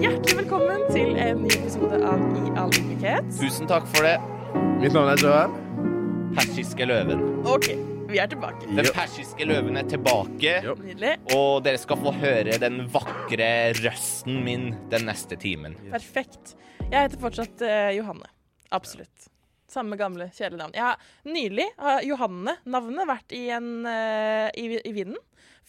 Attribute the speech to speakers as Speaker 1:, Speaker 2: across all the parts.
Speaker 1: Hjertelig velkommen til en ny episode av I all ydmykhet.
Speaker 2: Tusen takk for det,
Speaker 3: Mitt navn er Joab.
Speaker 2: persiske løven.
Speaker 1: OK, vi er tilbake.
Speaker 2: Den
Speaker 3: Jo.
Speaker 2: persiske løven er tilbake,
Speaker 3: Jo.
Speaker 1: Nydelig.
Speaker 2: og dere skal få høre den vakre røsten min den neste timen.
Speaker 1: Perfekt. Jeg heter fortsatt eh, Johanne. Absolutt. Samme gamle, kjære navn. Jeg har nylig har Johanne-navnet vært i, en, eh, i, i vinden.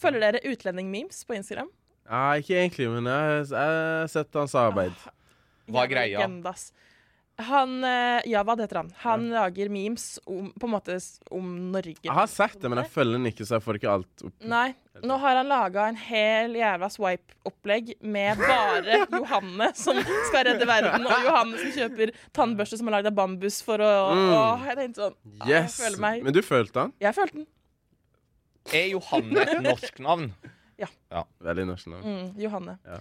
Speaker 1: Følger dere utlending-memes på Instagram?
Speaker 3: Nei, Ah, ikke egentlig, men jeg jeg har sett hans arbeid.
Speaker 1: Ah,
Speaker 2: Hva er
Speaker 1: Jævla
Speaker 2: greia?
Speaker 1: legende, ass. Han eh, Javad heter han. Han lager memes om, på en måte s- om Norge.
Speaker 3: Jeg har sett det, men jeg følger den ikke, så jeg får ikke alt opp.
Speaker 1: Nei. Nå har han laga en hel jævla swipe-opplegg med bare Johanne som skal redde verden, og Johanne som kjøper tannbørste som er lagd av bambus for å, å Jeg tenkte sånn ah,
Speaker 3: Mm. Yes!
Speaker 1: Jeg føler meg
Speaker 3: Men du følte han?
Speaker 1: Jeg følte den.
Speaker 2: Er Johanne et norsk navn?
Speaker 3: Veldig norsk navn.
Speaker 1: Mm, Johanne.
Speaker 3: Ja.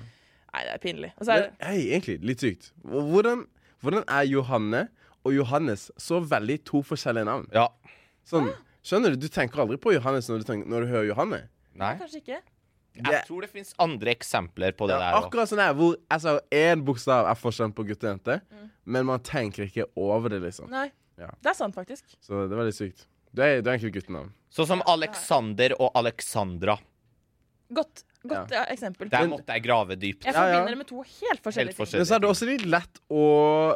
Speaker 1: Nei, det er pinlig. Og så er
Speaker 3: Men hei, egentlig, litt sykt. Hvor- Hvordan, hvordan er Johanne og Johannes så veldig to forskjellige navn?
Speaker 2: Ja.
Speaker 1: Ah.
Speaker 3: Sånn, skjønner du, du tenker aldri på Johannes når du, tenker, når du hører Johanne.
Speaker 2: Nei?
Speaker 1: det kanskje ikke
Speaker 2: Jeg tror det fins andre eksempler på det
Speaker 3: Ja,
Speaker 2: der òg.
Speaker 3: akkurat sånn her, hvor altså, én bokstav er forskjellen på gutt og jente, men man tenker ikke over det, liksom.
Speaker 1: Mm. Nei.
Speaker 3: Ja.
Speaker 1: Det er sant, faktisk.
Speaker 3: Så det er veldig sykt. Du er, du er egentlig guttenavn.
Speaker 2: Sånn som Alexander og Alexandra.
Speaker 1: Godt, godt ja, eksempel.
Speaker 2: Der
Speaker 1: Jeg
Speaker 2: måtte jeg grave dypt.
Speaker 3: Ja, ja.
Speaker 1: forbinder det med to helt forskjellige
Speaker 2: Helt
Speaker 1: ting.
Speaker 2: forskjellig.
Speaker 3: Men så er det også litt lett å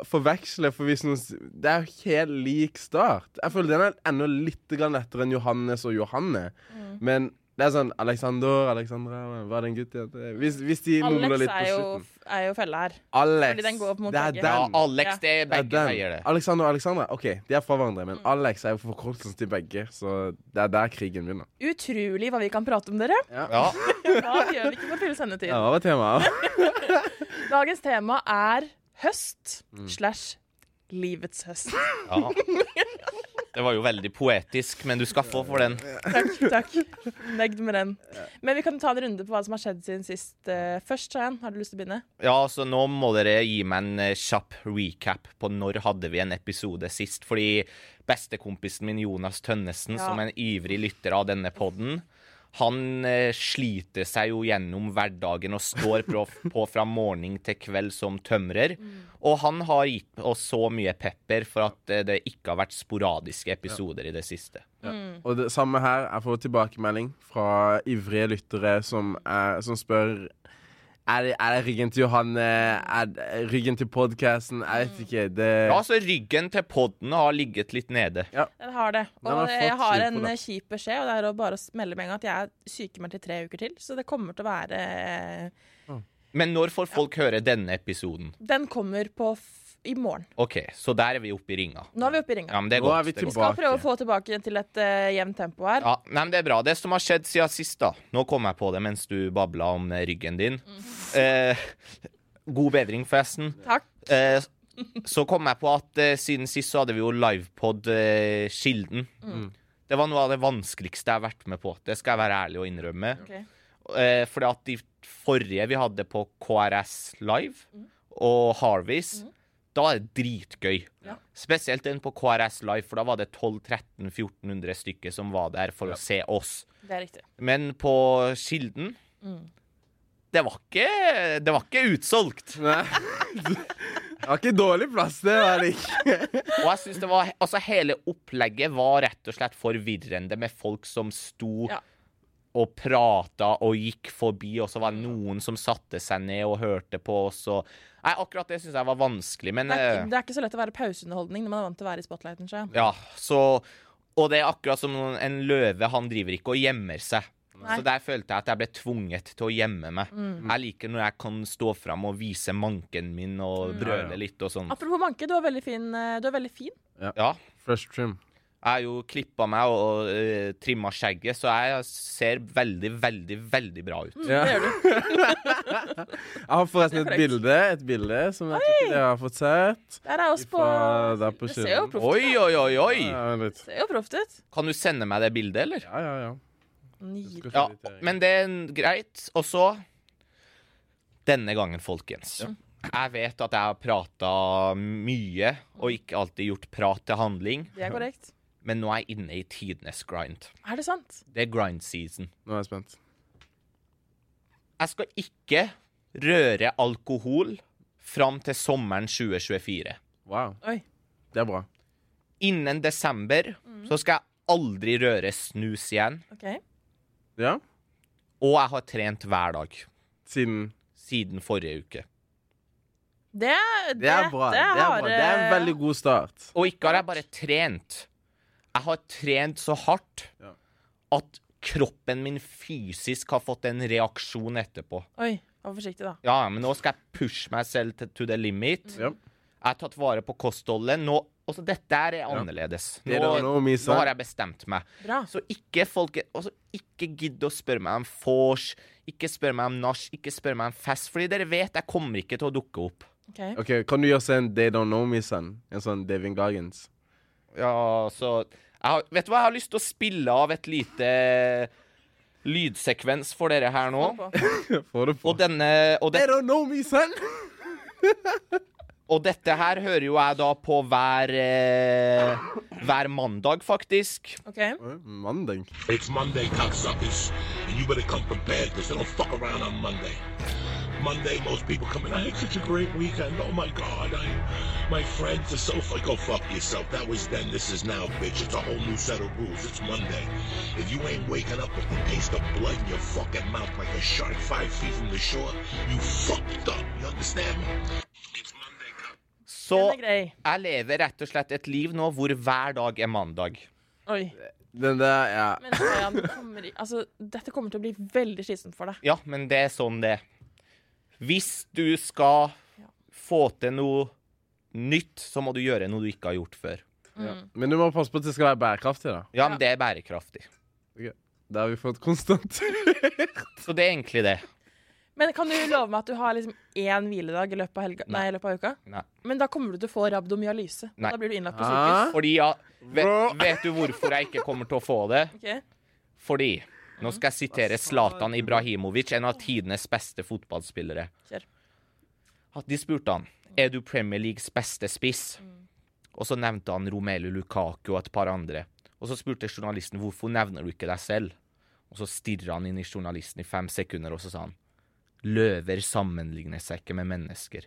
Speaker 3: forveksle, for hvis noen s- Det er jo helt lik start. Jeg føler den er enda litt grann lettere enn Johannes og Johanne.
Speaker 1: Mm.
Speaker 3: Men det er sånn Alexander, Alexandra Hva er det en gutt heter? Hvis, hvis de mumler
Speaker 1: Alex
Speaker 3: litt på
Speaker 1: er jo,
Speaker 3: slutten.
Speaker 1: er jo fella her.
Speaker 3: Alex.
Speaker 1: fordi den går opp mot
Speaker 3: det er
Speaker 1: begge.
Speaker 3: den.
Speaker 2: Ja,
Speaker 1: Ja.
Speaker 2: Alex, det er
Speaker 3: det er
Speaker 2: begge veier,
Speaker 3: den.
Speaker 2: det.
Speaker 3: Alexander og Alexandra Ok, de er fra hverandre,
Speaker 1: Mm.
Speaker 3: men Alex er jo forkortelsen til begge. Så det er der krigen begynner.
Speaker 1: Utrolig hva vi kan prate om, dere.
Speaker 2: Ja.
Speaker 1: Hva gjør vi ikke for å fylle sendetid?
Speaker 3: Ja, hva var temaet?
Speaker 1: Dagens tema er høst slash livets høst.
Speaker 2: ja. Det var jo veldig poetisk, men du skal få for den.
Speaker 1: Takk. takk. Negd med den. Men vi kan ta en runde på hva som har skjedd siden sist. eh, Først, Shayan, har du lyst til å begynne?
Speaker 2: Ja, så nå må dere gi meg en eh, kjapp recap på når hadde vi en episode sist. Fordi bestekompisen min Jonas Tønnesen,
Speaker 1: Ja.
Speaker 2: som er en ivrig lytter av denne podden, han eh, sliter seg jo gjennom hverdagen og står på, på fra morgen til kveld som tømrer. Og han har gitt oss så mye pepper for at eh, det ikke har vært sporadiske episoder i det siste.
Speaker 1: Mm.
Speaker 3: Og det samme her. Jeg får tilbakemelding fra ivrige lyttere som, er, som spør er det, er det ryggen til Johanne? Er det ryggen til podkasten? Jeg
Speaker 1: Mm.
Speaker 3: vet ikke. Det
Speaker 2: Ja, så ryggen til podden har ligget litt nede.
Speaker 1: Jeg har det.
Speaker 3: Den har
Speaker 1: Og
Speaker 3: fått
Speaker 1: jeg har
Speaker 3: skyld
Speaker 1: en eh,
Speaker 3: på det.
Speaker 1: kjip beskjed, og det er å bare melde med en gang at jeg syker meg til tre uker til. Så det kommer til å være eh,
Speaker 2: Men når får folk høre denne episoden?
Speaker 1: Den kommer på f i morgen.
Speaker 2: OK, så der er vi oppe i ringa.
Speaker 1: Nå er vi oppe i
Speaker 2: Ja,
Speaker 1: ringa.
Speaker 2: men det er
Speaker 3: Nå
Speaker 2: godt.
Speaker 3: er vi
Speaker 2: det er godt.
Speaker 1: Vi skal prøve å få tilbake til et eh, jevnt tempo her.
Speaker 2: Ja, nei, men Det er bra. Det som har skjedd siden sist, da. Nå kom jeg på det mens du babla om eh, ryggen din. Eh, god bedring, forresten.
Speaker 1: Takk.
Speaker 2: Eh, så kom jeg på at eh, siden sist så hadde vi jo livepod eh, Kilden. Det var noe av det vanskeligste jeg har vært med på. Det skal jeg være ærlig og innrømme.
Speaker 1: Ok.
Speaker 2: Eh, fordi at de forrige vi hadde på KRS Live og Harveys, da er det dritgøy.
Speaker 1: Ja.
Speaker 2: Spesielt den på KRS Live, for da var det 1200-1300-1400 stykker som var der for å se oss.
Speaker 1: Det er riktig.
Speaker 2: Men på Kilden det, var ikke, det var ikke utsolgt.
Speaker 3: Nei. Det var ikke dårlig plass, det var det ikke.
Speaker 2: Og jeg synes det var, altså Hele opplegget var rett og slett forvirrende, med folk som sto
Speaker 1: Ja.
Speaker 2: og prata og gikk forbi, og så var det noen som satte seg ned og hørte på oss. Og... Nei, akkurat det syns jeg var vanskelig, men
Speaker 1: Det er, ikke,
Speaker 2: eh,
Speaker 1: det er ikke så lett å være pauseunderholdning når man er vant til å være i spotlighten. Shayan.
Speaker 2: Ja, så Og det er akkurat som en løve, han driver ikke og gjemmer seg.
Speaker 1: Nei. Mm.
Speaker 2: Så der følte jeg at jeg ble tvunget til å gjemme meg. Jeg liker når jeg kan stå fram og vise manken min
Speaker 1: Mm.
Speaker 2: og
Speaker 3: Ja, ja.
Speaker 2: brøle litt og sånn.
Speaker 1: Apropos manke, du er veldig fin. eh, Du er veldig fin.
Speaker 2: Ja.
Speaker 3: Fresh
Speaker 1: Mm,
Speaker 3: trim.
Speaker 2: Jeg har jo klippa meg og uh, trimma skjegget, så jeg ser veldig, veldig, veldig bra ut.
Speaker 3: Ja.
Speaker 1: Det gjør du.
Speaker 3: Jeg har forresten
Speaker 1: Det er
Speaker 3: et
Speaker 1: korrekt.
Speaker 3: bilde et bilde som jeg tror ikke dere har fått sett.
Speaker 1: Der er oss på
Speaker 3: Ifra der på
Speaker 1: Det ser jo
Speaker 3: kilden.
Speaker 1: proft ut.
Speaker 2: Oi, oi, oi, oi!
Speaker 3: Ja, vent litt.
Speaker 1: Det ser jo proft ut.
Speaker 2: Kan du sende meg det bildet, eller?
Speaker 3: ja, ja. ja.
Speaker 1: Nydelig.
Speaker 2: Ja, men det er greit. Og så Denne gangen, folkens. Jeg vet at jeg har prata mye, og ikke alltid gjort prat til handling,
Speaker 1: Det er korrekt.
Speaker 2: men nå er jeg inne i tidenes grind.
Speaker 1: Er det sant?
Speaker 2: Det er grind season.
Speaker 3: Nå er jeg spent.
Speaker 2: Jeg skal ikke røre alkohol fram til sommeren 2024.
Speaker 3: Wow.
Speaker 1: Oi.
Speaker 3: Det er bra.
Speaker 2: Innen desember så skal jeg aldri røre snus igjen.
Speaker 1: OK.
Speaker 3: Ja.
Speaker 2: Og jeg har trent hver dag
Speaker 3: Siden
Speaker 2: siden forrige uke.
Speaker 1: Det, er-
Speaker 3: Det er bra. Det er,
Speaker 1: har,
Speaker 3: bra. Det er en
Speaker 1: eh,
Speaker 3: veldig god start.
Speaker 2: Og ikke har jeg bare trent. Jeg har trent så hardt
Speaker 3: Ja.
Speaker 2: at kroppen min fysisk har fått en reaksjon etterpå.
Speaker 1: Oi, vær forsiktig, da.
Speaker 2: Ja, men nå skal jeg pushe meg selv til to the limit.
Speaker 3: Ja.
Speaker 2: Jeg har tatt vare på kostholdet. Nå, også dette her er annerledes.
Speaker 3: Det er det nå, Misa.
Speaker 2: nå har jeg bestemt meg.
Speaker 1: Bra.
Speaker 2: Så ikke folk også Ikke gidd å spørre meg om vors, ikke spørre meg om nach, ikke spørre meg om fest, fordi dere vet jeg kommer ikke til å dukke opp.
Speaker 1: OK.
Speaker 3: OK, kan du gjøre oss en They Don't Know Me-sang? En sånn Davin Gargens?
Speaker 2: Ja, så jeg har, Vet du hva, jeg har lyst til å spille av et lite lydsekvens for dere her nå.
Speaker 1: Hør på.
Speaker 3: Får du på?
Speaker 2: Og denne og, det,
Speaker 3: They Don't Know Me-sang!
Speaker 2: og dette her hører jo jeg da på hver eh, Hver mandag, faktisk.
Speaker 1: OK.
Speaker 3: Mandag.
Speaker 4: It's Monday, cocksuckers. And you better come prepared because they don't fuck around on Monday. Monday, most people come in, I had such a great weekend. Oh my God, I, my friends are so fuck. Go fuck yourself. That was then, this is now, bitch. It's a whole new set of rules. It's Monday. If you ain't waking up with the taste of blood in your fucking mouth like a shark five feet from the shore, you fucked up. You understand me? It's Monday, cocksuckers.
Speaker 2: Så
Speaker 1: Den er grei.
Speaker 2: jeg lever rett og slett et liv nå hvor hver dag er mandag.
Speaker 1: Oi.
Speaker 3: Den der, ja.
Speaker 1: Men Stian, du kommer, i- altså, dette kommer til å bli veldig slitsomt for deg.
Speaker 2: Ja, men det er sånn det er. Hvis du skal få til noe nytt, så må du gjøre noe du ikke har gjort før.
Speaker 3: ja. Men du må passe på at det skal være bærekraftig, da.
Speaker 2: Ja, men det er bærekraftig.
Speaker 3: Ok, Det har vi fått konstant.
Speaker 2: Så det er egentlig det.
Speaker 1: Men kan du love meg at du har liksom én hviledag i løpet av, helga, nei.
Speaker 2: Nei.
Speaker 1: i løpet av uka?
Speaker 2: Nei.
Speaker 1: Men da kommer du til å få rabdomyalyse.
Speaker 2: Nei.
Speaker 1: Da blir du innlagt på
Speaker 3: Ah.
Speaker 1: sykehus.
Speaker 2: Fordi ja, vet, vet du hvorfor jeg ikke kommer til å få det?
Speaker 1: Ok.
Speaker 2: Fordi Nå skal jeg sitere Zlatan Ibrahimovic, en av tidenes beste fotballspillere.
Speaker 1: Kjør.
Speaker 2: At De spurte han er du Premier Leagues beste spiss. Og så nevnte han Romelu Lukaku og et par andre. Og så spurte journalisten hvorfor nevner du ikke deg selv. Og så stirra han inn i journalisten i fem sekunder, og så sa han Løver sammenligner seg ikke med mennesker.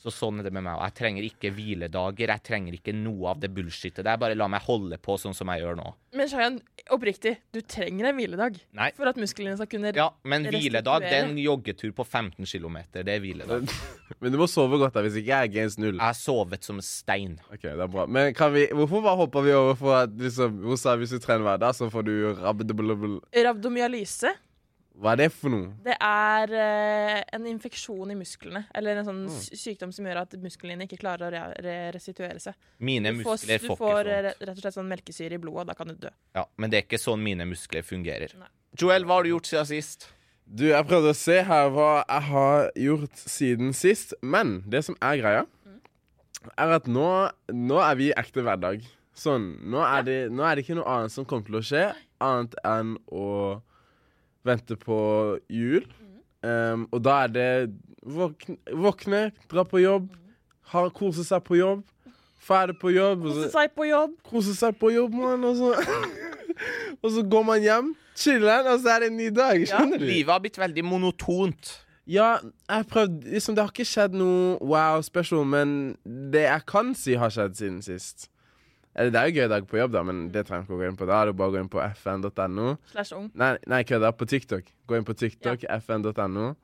Speaker 2: Så sånn er det med meg. Og jeg trenger ikke hviledager. Jeg trenger ikke noe av det bullshitet der. Bare la meg holde på sånn som jeg gjør nå.
Speaker 1: Men Shayan, oppriktig, du trenger en hviledag
Speaker 2: Nei.
Speaker 1: for at musklene skal kunne
Speaker 2: Ja, men
Speaker 1: Restituere.
Speaker 2: hviledag det er en joggetur på 15 km. Det er hviledag.
Speaker 3: Men du må sove godt, da, hvis ikke jeg er gains
Speaker 2: Jeg
Speaker 3: null.
Speaker 2: har sovet som en stein.
Speaker 3: Ok, det er bra. Men kan vi, hvorfor bare hopper vi over for at liksom, hun sa hvis du trener hver dag, så får du rabbedubbel...
Speaker 1: Rabdomyalyse,
Speaker 3: Hva er det for noe?
Speaker 1: det er eh, en infeksjon i musklene. Eller en sånn
Speaker 2: Mm.
Speaker 1: sy- sykdom som gjør at musklene dine ikke klarer å re re restituere seg.
Speaker 2: Mine
Speaker 1: Du får,
Speaker 2: muskler
Speaker 1: du
Speaker 2: får
Speaker 1: får
Speaker 2: ikke
Speaker 1: eh,
Speaker 2: sånt.
Speaker 1: rett og slett sånn melkesyre i blodet, og da kan du dø.
Speaker 2: Ja, men det er ikke sånn mine muskler fungerer.
Speaker 1: Nei.
Speaker 2: Joel, hva har du gjort siden sist?
Speaker 3: Du, jeg prøvde å se her hva jeg har gjort siden sist, men det som er greia, er at nå, nå er vi i ekte hverdag. Sånn, nå er, det, nå er det ikke noe annet som kommer til å skje, annet enn å vente på jul.
Speaker 1: Mhm.
Speaker 3: Um, og da er det våkne, våkne dra på jobb,
Speaker 1: Mhm.
Speaker 3: ha, kose seg på jobb, ferdig på jobb. og så-
Speaker 1: Kose seg på jobb.
Speaker 3: kose seg på jobb, mann, og så Og så går man hjem, chiller'n, og så er det en ny dag. Skjønner du?
Speaker 2: Livet har blitt veldig monotont.
Speaker 3: Ja, jeg har prøvd liksom, Det har ikke skjedd noe wow special, men det jeg kan si har skjedd siden sist Eller det er jo gøy dag på jobb, da, men det trenger jeg ikke å gå inn på. Da er det bare å gå inn på fn.no.
Speaker 1: Slash ung.
Speaker 3: Nei, nei kødda. På TikTok. Gå inn på TikTok, fn.no.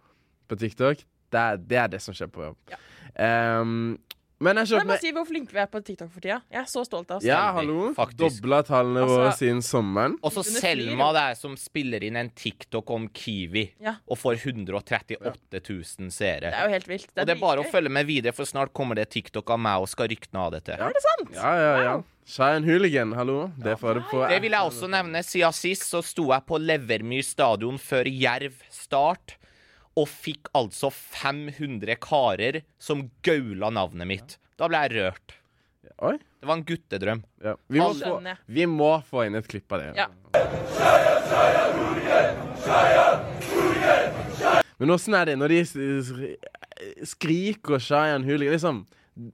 Speaker 3: På TikTok. Det er, det er det som skjer på jobb.
Speaker 1: Ja.
Speaker 3: Ehm, men jeg
Speaker 1: Jeg
Speaker 3: kjøper
Speaker 1: må
Speaker 3: meg
Speaker 1: si hvor flinke vi er på TikTok for tida. Jeg er så stolt av oss.
Speaker 3: Ja,
Speaker 2: Veldig,
Speaker 3: hallo.
Speaker 2: faktisk.
Speaker 3: Dobla tallene våre
Speaker 1: Altså-
Speaker 3: siden sommeren.
Speaker 2: Også
Speaker 1: Under
Speaker 2: Selma
Speaker 1: flyr.
Speaker 2: der som spiller inn en TikTok om Kiwi
Speaker 1: Ja.
Speaker 2: og får 138 000 seere.
Speaker 1: Det er jo helt vilt.
Speaker 2: og det er bare å
Speaker 1: dritgøy.
Speaker 2: følge med videre, for snart kommer det TikTok av meg og skal ryktene av det til.
Speaker 1: Er det sant?
Speaker 3: Ja, ja, ja. Cheyenne Hooligan, hallo. Det får du på
Speaker 2: Det vil jeg også nevne. Siden sist så sto jeg på Levermyr stadion før Jerv start, og fikk altså 500 karer som gaula navnet mitt. Da ble jeg rørt.
Speaker 3: Oi.
Speaker 2: Det var en guttedrøm.
Speaker 3: Ja. Vi, må få,
Speaker 1: Skjønner jeg.
Speaker 3: vi må få inn et klipp av det.
Speaker 1: Ja.
Speaker 3: Men åssen er det når de s- s- skriker og Cheyenne Hooligan liksom,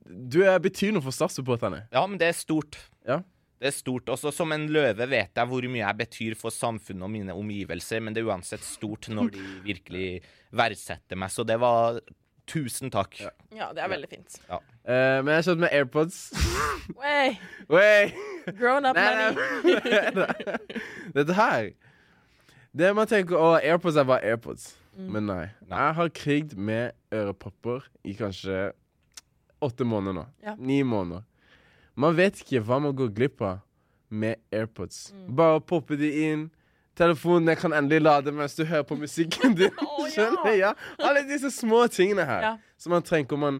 Speaker 3: Du eh, betyr noe for statssupporterne.
Speaker 2: Ja, men det er stort.
Speaker 3: Ja.
Speaker 2: Det er stort. Også som en løve vet jeg hvor mye jeg betyr for samfunnet og mine omgivelser, men det er uansett stort når de virkelig verdsetter meg. Så det var Tusen takk.
Speaker 1: Ja, det er veldig fint.
Speaker 3: Eh, men jeg har kjøpt meg AirPods.
Speaker 1: Wey,
Speaker 3: Wey.
Speaker 1: grown up
Speaker 3: Nei,
Speaker 1: money.
Speaker 3: nei, nei. Dette her Det man tenker å, AirPods er bare AirPods.
Speaker 1: Mm.
Speaker 3: Men nei.
Speaker 2: Nei.
Speaker 3: Jeg har krigd med ørepropper i kanskje åtte måneder nå.
Speaker 1: Ja.
Speaker 3: Ni måneder. Man vet ikke hva man går glipp av med AirPods.
Speaker 1: Mm.
Speaker 3: Bare poppe de inn. Telefonen jeg kan endelig lade mens du hører på musikken din.
Speaker 1: Å, ja.
Speaker 3: Skjønner jeg? Ja. Alle disse små tingene her.
Speaker 1: Ja.
Speaker 3: Som man trenger om man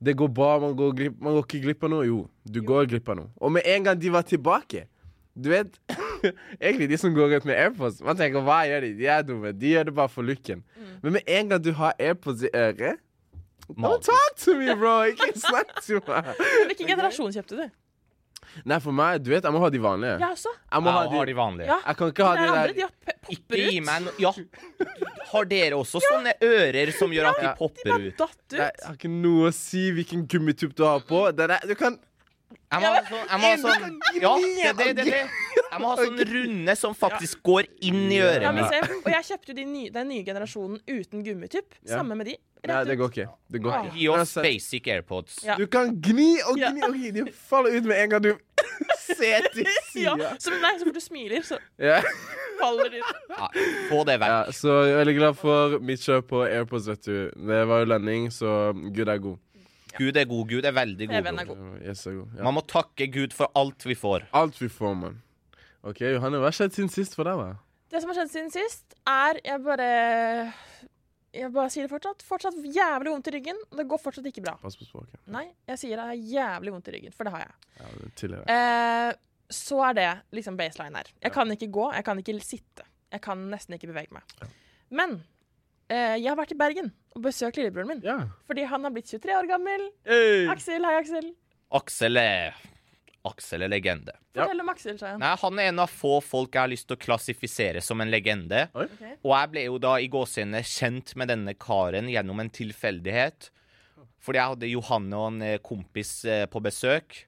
Speaker 3: det går bra, man går, glipp, man går ikke glipp av noe. Jo, du går glipp av noe. Og med en gang de var tilbake Du vet Egentlig de som går rundt med AirPods, man tenker hva gjør de? De er dumme. De gjør det bare for looken.
Speaker 1: Mm.
Speaker 3: Men med en gang du har AirPods i øret Don't
Speaker 2: Magisk.
Speaker 3: talk to me, bro! Ikke snakk til meg.
Speaker 1: Hvilken generasjon kjøpte du?
Speaker 3: Nei, for meg, du vet, jeg må ha de vanlige.
Speaker 1: Jeg også.
Speaker 3: Jeg må
Speaker 2: Jeg
Speaker 3: ha
Speaker 2: har de
Speaker 3: de
Speaker 2: vanlige.
Speaker 1: Ja.
Speaker 3: Jeg kan ikke ha
Speaker 1: Det er andre,
Speaker 3: de
Speaker 1: de
Speaker 3: der
Speaker 1: har pe- popper
Speaker 2: Ikke gi
Speaker 1: ut.
Speaker 2: meg noe Ja, har dere også sånne ører som gjør at de
Speaker 3: Ja.
Speaker 2: popper ut?
Speaker 1: Datt
Speaker 3: Nei,
Speaker 1: ut.
Speaker 3: Jeg har ikke noe å si hvilken gummitupp du har på. Det der, du kan
Speaker 2: Jeg må ha sånn, jeg må ha sånn Ja, det, det, det, det. Jeg må ha sånn runde som faktisk går inn i
Speaker 1: Ja, men
Speaker 2: ørene.
Speaker 1: se, og jeg kjøpte jo de nye, den nye generasjonen uten gummitupp.
Speaker 3: Ja.
Speaker 1: Samme med de.
Speaker 3: Nei,
Speaker 1: Rett
Speaker 3: det
Speaker 1: ut.
Speaker 3: går ikke. Det går ikke. altså,
Speaker 2: Gi oss
Speaker 3: Uansett.
Speaker 2: basic AirPods.
Speaker 1: Ja.
Speaker 3: Du kan gni og
Speaker 1: Ja.
Speaker 3: gni og gni. De faller ut med en gang du ser til
Speaker 1: Ja,
Speaker 3: sida.
Speaker 1: så, nei, så fort du smiler, så
Speaker 3: Ja.
Speaker 1: faller de ut.
Speaker 2: Ja, få det
Speaker 3: Ja,
Speaker 2: vekk.
Speaker 3: så jeg er veldig glad for mitt kjøp på AirPods, vet du. Det var jo lønning, så Gud er god.
Speaker 2: Gud er god. Gud er veldig god.
Speaker 1: Even er
Speaker 2: Gud.
Speaker 1: god.
Speaker 3: Yes, er god. Ja.
Speaker 2: Man må takke Gud for alt vi får.
Speaker 3: Alt vi får, mann. OK, Johanne, hva har skjedd siden sist for deg, da?
Speaker 1: Det som har skjedd siden sist, er Jeg bare Jeg bare sier det fortsatt. Fortsatt jævlig vondt i ryggen. og Det går fortsatt ikke bra.
Speaker 3: Pass på språket.
Speaker 1: Nei, jeg sier jeg har jævlig vondt i ryggen, for det har jeg.
Speaker 3: Ja, det tidligere.
Speaker 1: Eh, så er det liksom baseline her. Jeg kan ikke gå, jeg kan ikke sitte. Jeg kan nesten ikke bevege meg. Men eh, jeg har vært i Bergen og besøkt lillebroren min.
Speaker 3: Ja.
Speaker 1: Fordi han har blitt 23 år gammel. Aksel, hei, Aksel.
Speaker 2: Aksel er Aksel er legende.
Speaker 3: Ja.
Speaker 1: Fortell om Aksel, sa han.
Speaker 2: Nei, Han er en av få folk jeg har lyst til å klassifisere som en legende.
Speaker 3: Oi.
Speaker 1: Ok.
Speaker 2: Og jeg ble jo da i gåsehendene kjent med denne karen gjennom en tilfeldighet. Fordi jeg hadde Johanne og en eh, kompis eh, på besøk.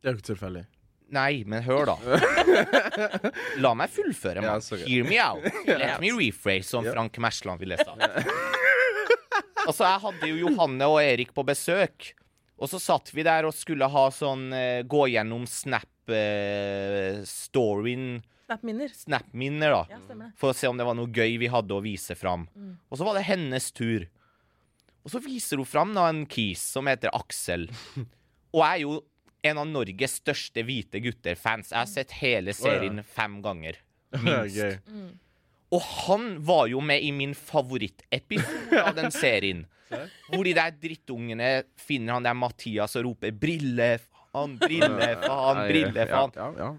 Speaker 3: Det er jo ikke tilfeldig.
Speaker 2: Nei, men hør, da. La meg fullføre,
Speaker 3: Ja,
Speaker 2: mann.
Speaker 3: sorry.
Speaker 2: Hear me out. Let me rephrase, som Frank Mersland ville sagt. Altså, jeg hadde jo Johanne og Erik på besøk, og så satt vi der og skulle ha sånn eh, Gå gjennom Snap-storyen.
Speaker 1: Snap-minner.
Speaker 2: Snap-minner, da.
Speaker 1: Ja, stemmer det.
Speaker 2: For å se om det var noe gøy vi hadde å vise fram.
Speaker 3: Mm.
Speaker 2: Og så var det hennes tur. Og så viser hun fram da, en kis som heter Aksel. Og jeg er jo en av Norges største hvite gutter-fans. Jeg har
Speaker 3: Mm.
Speaker 2: sett hele serien fem ganger. Minst.
Speaker 3: Gøy.
Speaker 2: Og han var jo med i min favorittepisode av den serien. Hvor de der drittungene finner han der Mathias og roper 'brillefaen, brillefaen,
Speaker 3: Ja, ja,
Speaker 2: brillefaen'.
Speaker 3: Ja, ja.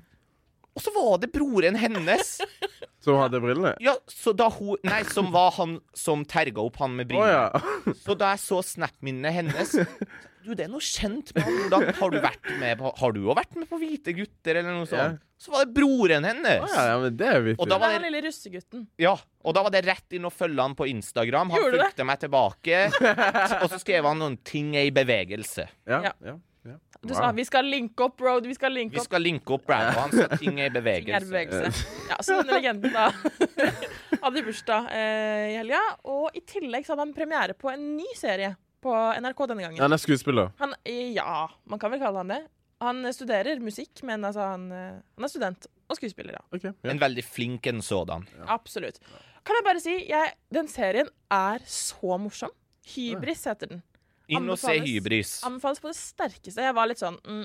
Speaker 2: Og så var det broren hennes.
Speaker 3: Som hadde brillene?
Speaker 2: Ja, så da hun Nei, som var han som terga opp han med
Speaker 3: Å
Speaker 2: briller.
Speaker 3: ja.
Speaker 2: Så da jeg så snap-minnene hennes Du, det er noe kjent med han. Hvordan Har du vært med på Har du òg vært med på Hvite gutter, eller noe sånt? Så var det broren hennes.
Speaker 3: ja. Ja, men det er vittig.
Speaker 2: Og da
Speaker 1: Det
Speaker 2: var
Speaker 1: er
Speaker 2: det
Speaker 1: han lille russegutten.
Speaker 2: ja, og da var det rett inn å følge han på Instagram. Han
Speaker 1: Gjorde du det?
Speaker 2: fulgte meg tilbake. Og så skrev han noen 'ting er i bevegelse'.
Speaker 3: Ja,
Speaker 1: Ja.
Speaker 3: ja, ja.
Speaker 1: Du sa vi skal linke opp, bro. Vi skal linke
Speaker 2: Vi
Speaker 1: opp.
Speaker 2: skal linke opp brandet hans, så 'ting er
Speaker 1: Ting er
Speaker 2: i bevegelse'.
Speaker 1: bevegelse. Ja, så denne legenden da hadde bursdag eh, i helga. Og i tillegg så hadde han premiere på en ny serie på NRK denne gangen.
Speaker 3: Han er skuespiller.
Speaker 1: Han, ja, man kan vel kalle han det. Han studerer musikk, men altså han, eh, han er student og skuespiller, ja.
Speaker 3: Ok, ja.
Speaker 2: En veldig flink en sådan.
Speaker 1: Absolutt. Kan jeg bare si, jeg, den serien er så morsom. Hybris heter den.
Speaker 2: Inn og se
Speaker 1: Anbefales.
Speaker 2: Hybris.
Speaker 1: Anbefales på det sterkeste. Jeg var litt sånn mm,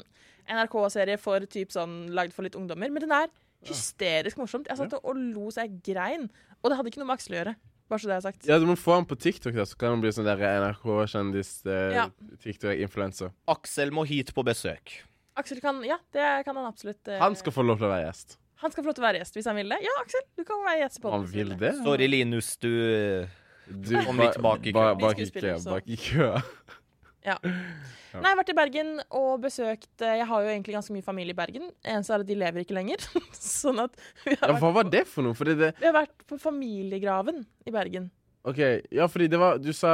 Speaker 1: NRK-serie for typ sånn lagd for litt ungdommer, men den er hysterisk morsomt. Jeg satt og lo så jeg grein, og det hadde ikke noe med Aksel å gjøre. Bare så det er sagt.
Speaker 3: Ja, Du må få han på TikTok, da, så kan han bli sånn der eh,
Speaker 1: Ja.
Speaker 3: NRK-kjendis-TikTok-influencer.
Speaker 2: Aksel må hit på besøk.
Speaker 1: Aksel kan Ja, det kan han absolutt. eh,
Speaker 3: Han skal få lov til å være gjest.
Speaker 1: han skal få lov til å være gjest hvis han vil det. Ja, Aksel, du kan være gjest på
Speaker 3: Han
Speaker 1: podden,
Speaker 3: vil
Speaker 1: selvfølgelig.
Speaker 3: det.
Speaker 2: Sorry, Linus, du eh,
Speaker 3: Du,
Speaker 2: Kom
Speaker 3: ba-
Speaker 2: litt bak i
Speaker 3: ba-
Speaker 2: køen.
Speaker 3: Bak
Speaker 1: Vi
Speaker 3: i
Speaker 1: skuespiller,
Speaker 3: køa.
Speaker 1: så.
Speaker 3: Bak i køa.
Speaker 1: Ja. Nei, jeg har vært i Bergen og besøkt eh, Jeg har jo egentlig ganske mye familie i Bergen. Eneste er at de lever ikke lenger. sånn at vi
Speaker 3: Ja,
Speaker 1: har, vært,
Speaker 3: hva var det for noe? Fordi det
Speaker 1: vi har vært på familiegraven i Bergen.
Speaker 3: OK. Ja, fordi det var Du sa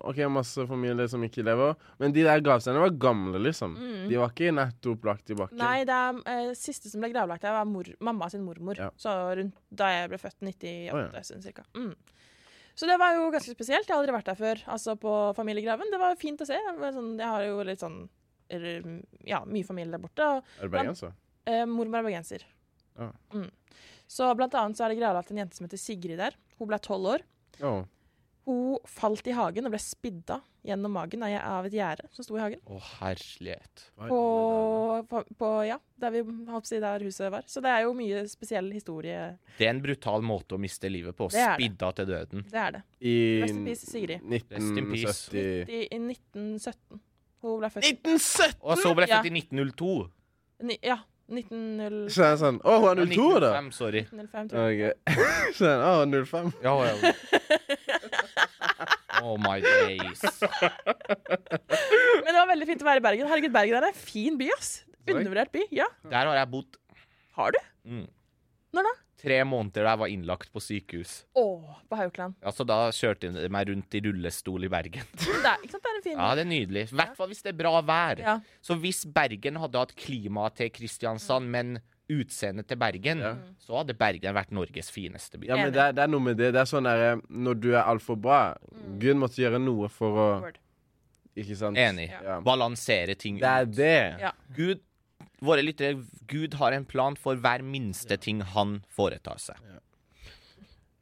Speaker 3: OK, masse familier som ikke lever. Men de der gravsteinene var gamle, liksom. De var ikke nettopp lagt i bakken.
Speaker 1: Mm. Nei, det er, eh, siste som ble gravlagt der, var mor, mamma sin mormor.
Speaker 3: Ja.
Speaker 1: Så rundt da jeg ble født, 98,
Speaker 3: Å, ja.
Speaker 1: sånn cirka. Mm. Så det var jo ganske spesielt. Jeg har aldri vært der før, altså på familiegraven. Det var jo fint å se. Det var Sånn, jeg har jo litt sånn eller, Ja, mye familie der borte. Og
Speaker 3: Er det bergenser?
Speaker 1: Eh, mormor er bergenser.
Speaker 3: Ja.
Speaker 1: Mm. Så blant annet så er det gravlagt en jente som heter Sigrid der. Hun ble tolv år.
Speaker 3: Å.
Speaker 1: Hun falt i hagen og ble spidda gjennom magen av- av et gjerde som sto i hagen.
Speaker 2: Å, herlighet.
Speaker 1: På, på, på ja, der, vi, holdt på å si, der huset var. Så det er jo mye spesiell historie.
Speaker 2: Det er en brutal måte å miste livet på.
Speaker 1: Det er det.
Speaker 2: Spidda til døden.
Speaker 1: Det er det.
Speaker 3: I
Speaker 1: Rest in peace, Sigrid.
Speaker 2: Rest in peace.
Speaker 3: 1970
Speaker 1: I, i 1917. Hun ble født
Speaker 3: 1970!
Speaker 2: Og så ble
Speaker 1: Mm,
Speaker 2: jeg
Speaker 1: Ja.
Speaker 2: født i 1902.
Speaker 1: ni, Ja, 1905,
Speaker 3: Så er det sånn Å, hun er 02, da!
Speaker 2: 1905, sorry.
Speaker 1: tror jeg.
Speaker 3: OK. Så er det, Å, 05.
Speaker 2: Ja, ja. Oh my days.
Speaker 1: Men det var veldig fint å være i Bergen. Herregud, Bergen er en fin by, ass. Undervurdert by. Ja.
Speaker 2: Der har jeg bodd
Speaker 1: Har du?
Speaker 2: Mm.
Speaker 1: Når da?
Speaker 2: tre måneder da jeg var innlagt på sykehus.
Speaker 1: Å, på Haukeland.
Speaker 2: Altså, da kjørte de meg rundt i rullestol i Bergen.
Speaker 1: Men Det er, ikke sant, det er en fin by.
Speaker 2: Ja, det er nydelig. I hvert fall hvis det er bra vær.
Speaker 1: Ja.
Speaker 2: Så hvis Bergen hadde hatt klimaet til
Speaker 1: Mm.
Speaker 2: Kristiansand, men utseendet til Bergen, så hadde Bergen vært Norges fineste by.
Speaker 3: Ja, men det er, det er noe med det. Det er sånn derre Når du er altfor bra
Speaker 1: Mm.
Speaker 3: Gud måtte gjøre noe for å
Speaker 1: Word.
Speaker 3: Ikke sant?
Speaker 2: Enig.
Speaker 3: Ja.
Speaker 2: Balansere ting
Speaker 3: Det er
Speaker 2: ut.
Speaker 3: det.
Speaker 1: Ja.
Speaker 2: Gud, våre lyttere, Gud har en plan for hver minste ting han foretar seg.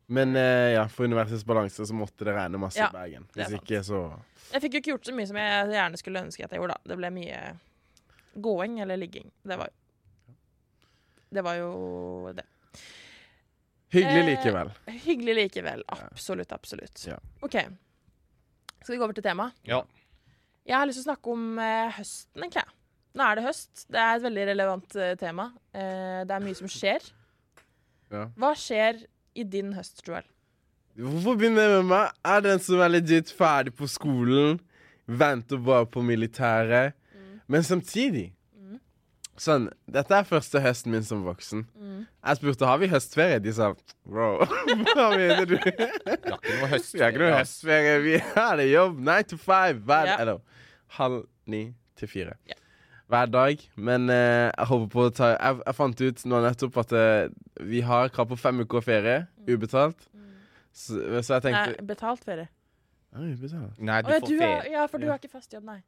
Speaker 3: Men eh, ja, for universets balanse så måtte det regne masse
Speaker 1: Ja,
Speaker 3: i Bergen.
Speaker 1: det er
Speaker 3: Hvis
Speaker 1: sant.
Speaker 3: ikke, så
Speaker 1: Jeg fikk jo ikke gjort så mye som jeg gjerne skulle ønske at jeg gjorde, da. Det ble mye gåing eller ligging. Det var jo Det var jo det.
Speaker 3: Hyggelig
Speaker 1: Eh,
Speaker 3: likevel.
Speaker 1: Hyggelig likevel. Absolutt, absolutt.
Speaker 3: Ja.
Speaker 1: OK. Skal vi gå over til temaet?
Speaker 2: Ja.
Speaker 1: Jeg har lyst til å snakke om eh, høsten, egentlig. jeg. Nå er det høst. Det er et veldig relevant eh, tema. Eh, det er mye som skjer.
Speaker 3: Ja.
Speaker 1: Hva skjer i din høst, Joel?
Speaker 3: Hvorfor begynner jeg med meg? Er den som er legit ferdig på skolen, venter bare på militæret.
Speaker 1: Mm.
Speaker 3: Men samtidig Sånn, Dette er første høsten min som voksen.
Speaker 1: Mm.
Speaker 3: Jeg spurte har vi høstferie. De sa bro, hva mener du? Vi
Speaker 2: Vi har ikke noe høst.
Speaker 3: har ikke noe høstferie. Vi har det jobb nine to five hver
Speaker 1: Ja.
Speaker 3: Eller halv ni til fire.
Speaker 1: Ja.
Speaker 3: Hver dag. Men eh, jeg håper på å ta Jeg, jeg fant ut nå nettopp at eh, vi har krav på fem uker ferie.
Speaker 1: Mm.
Speaker 3: Ubetalt. Så, så jeg tenkte
Speaker 1: Nei, betalt ferie.
Speaker 3: ja, ubetalt.
Speaker 2: Nei, du
Speaker 1: Å, ja,
Speaker 2: får
Speaker 1: du har,
Speaker 2: ferie.
Speaker 1: ja, for du har ikke fast jobb, nei.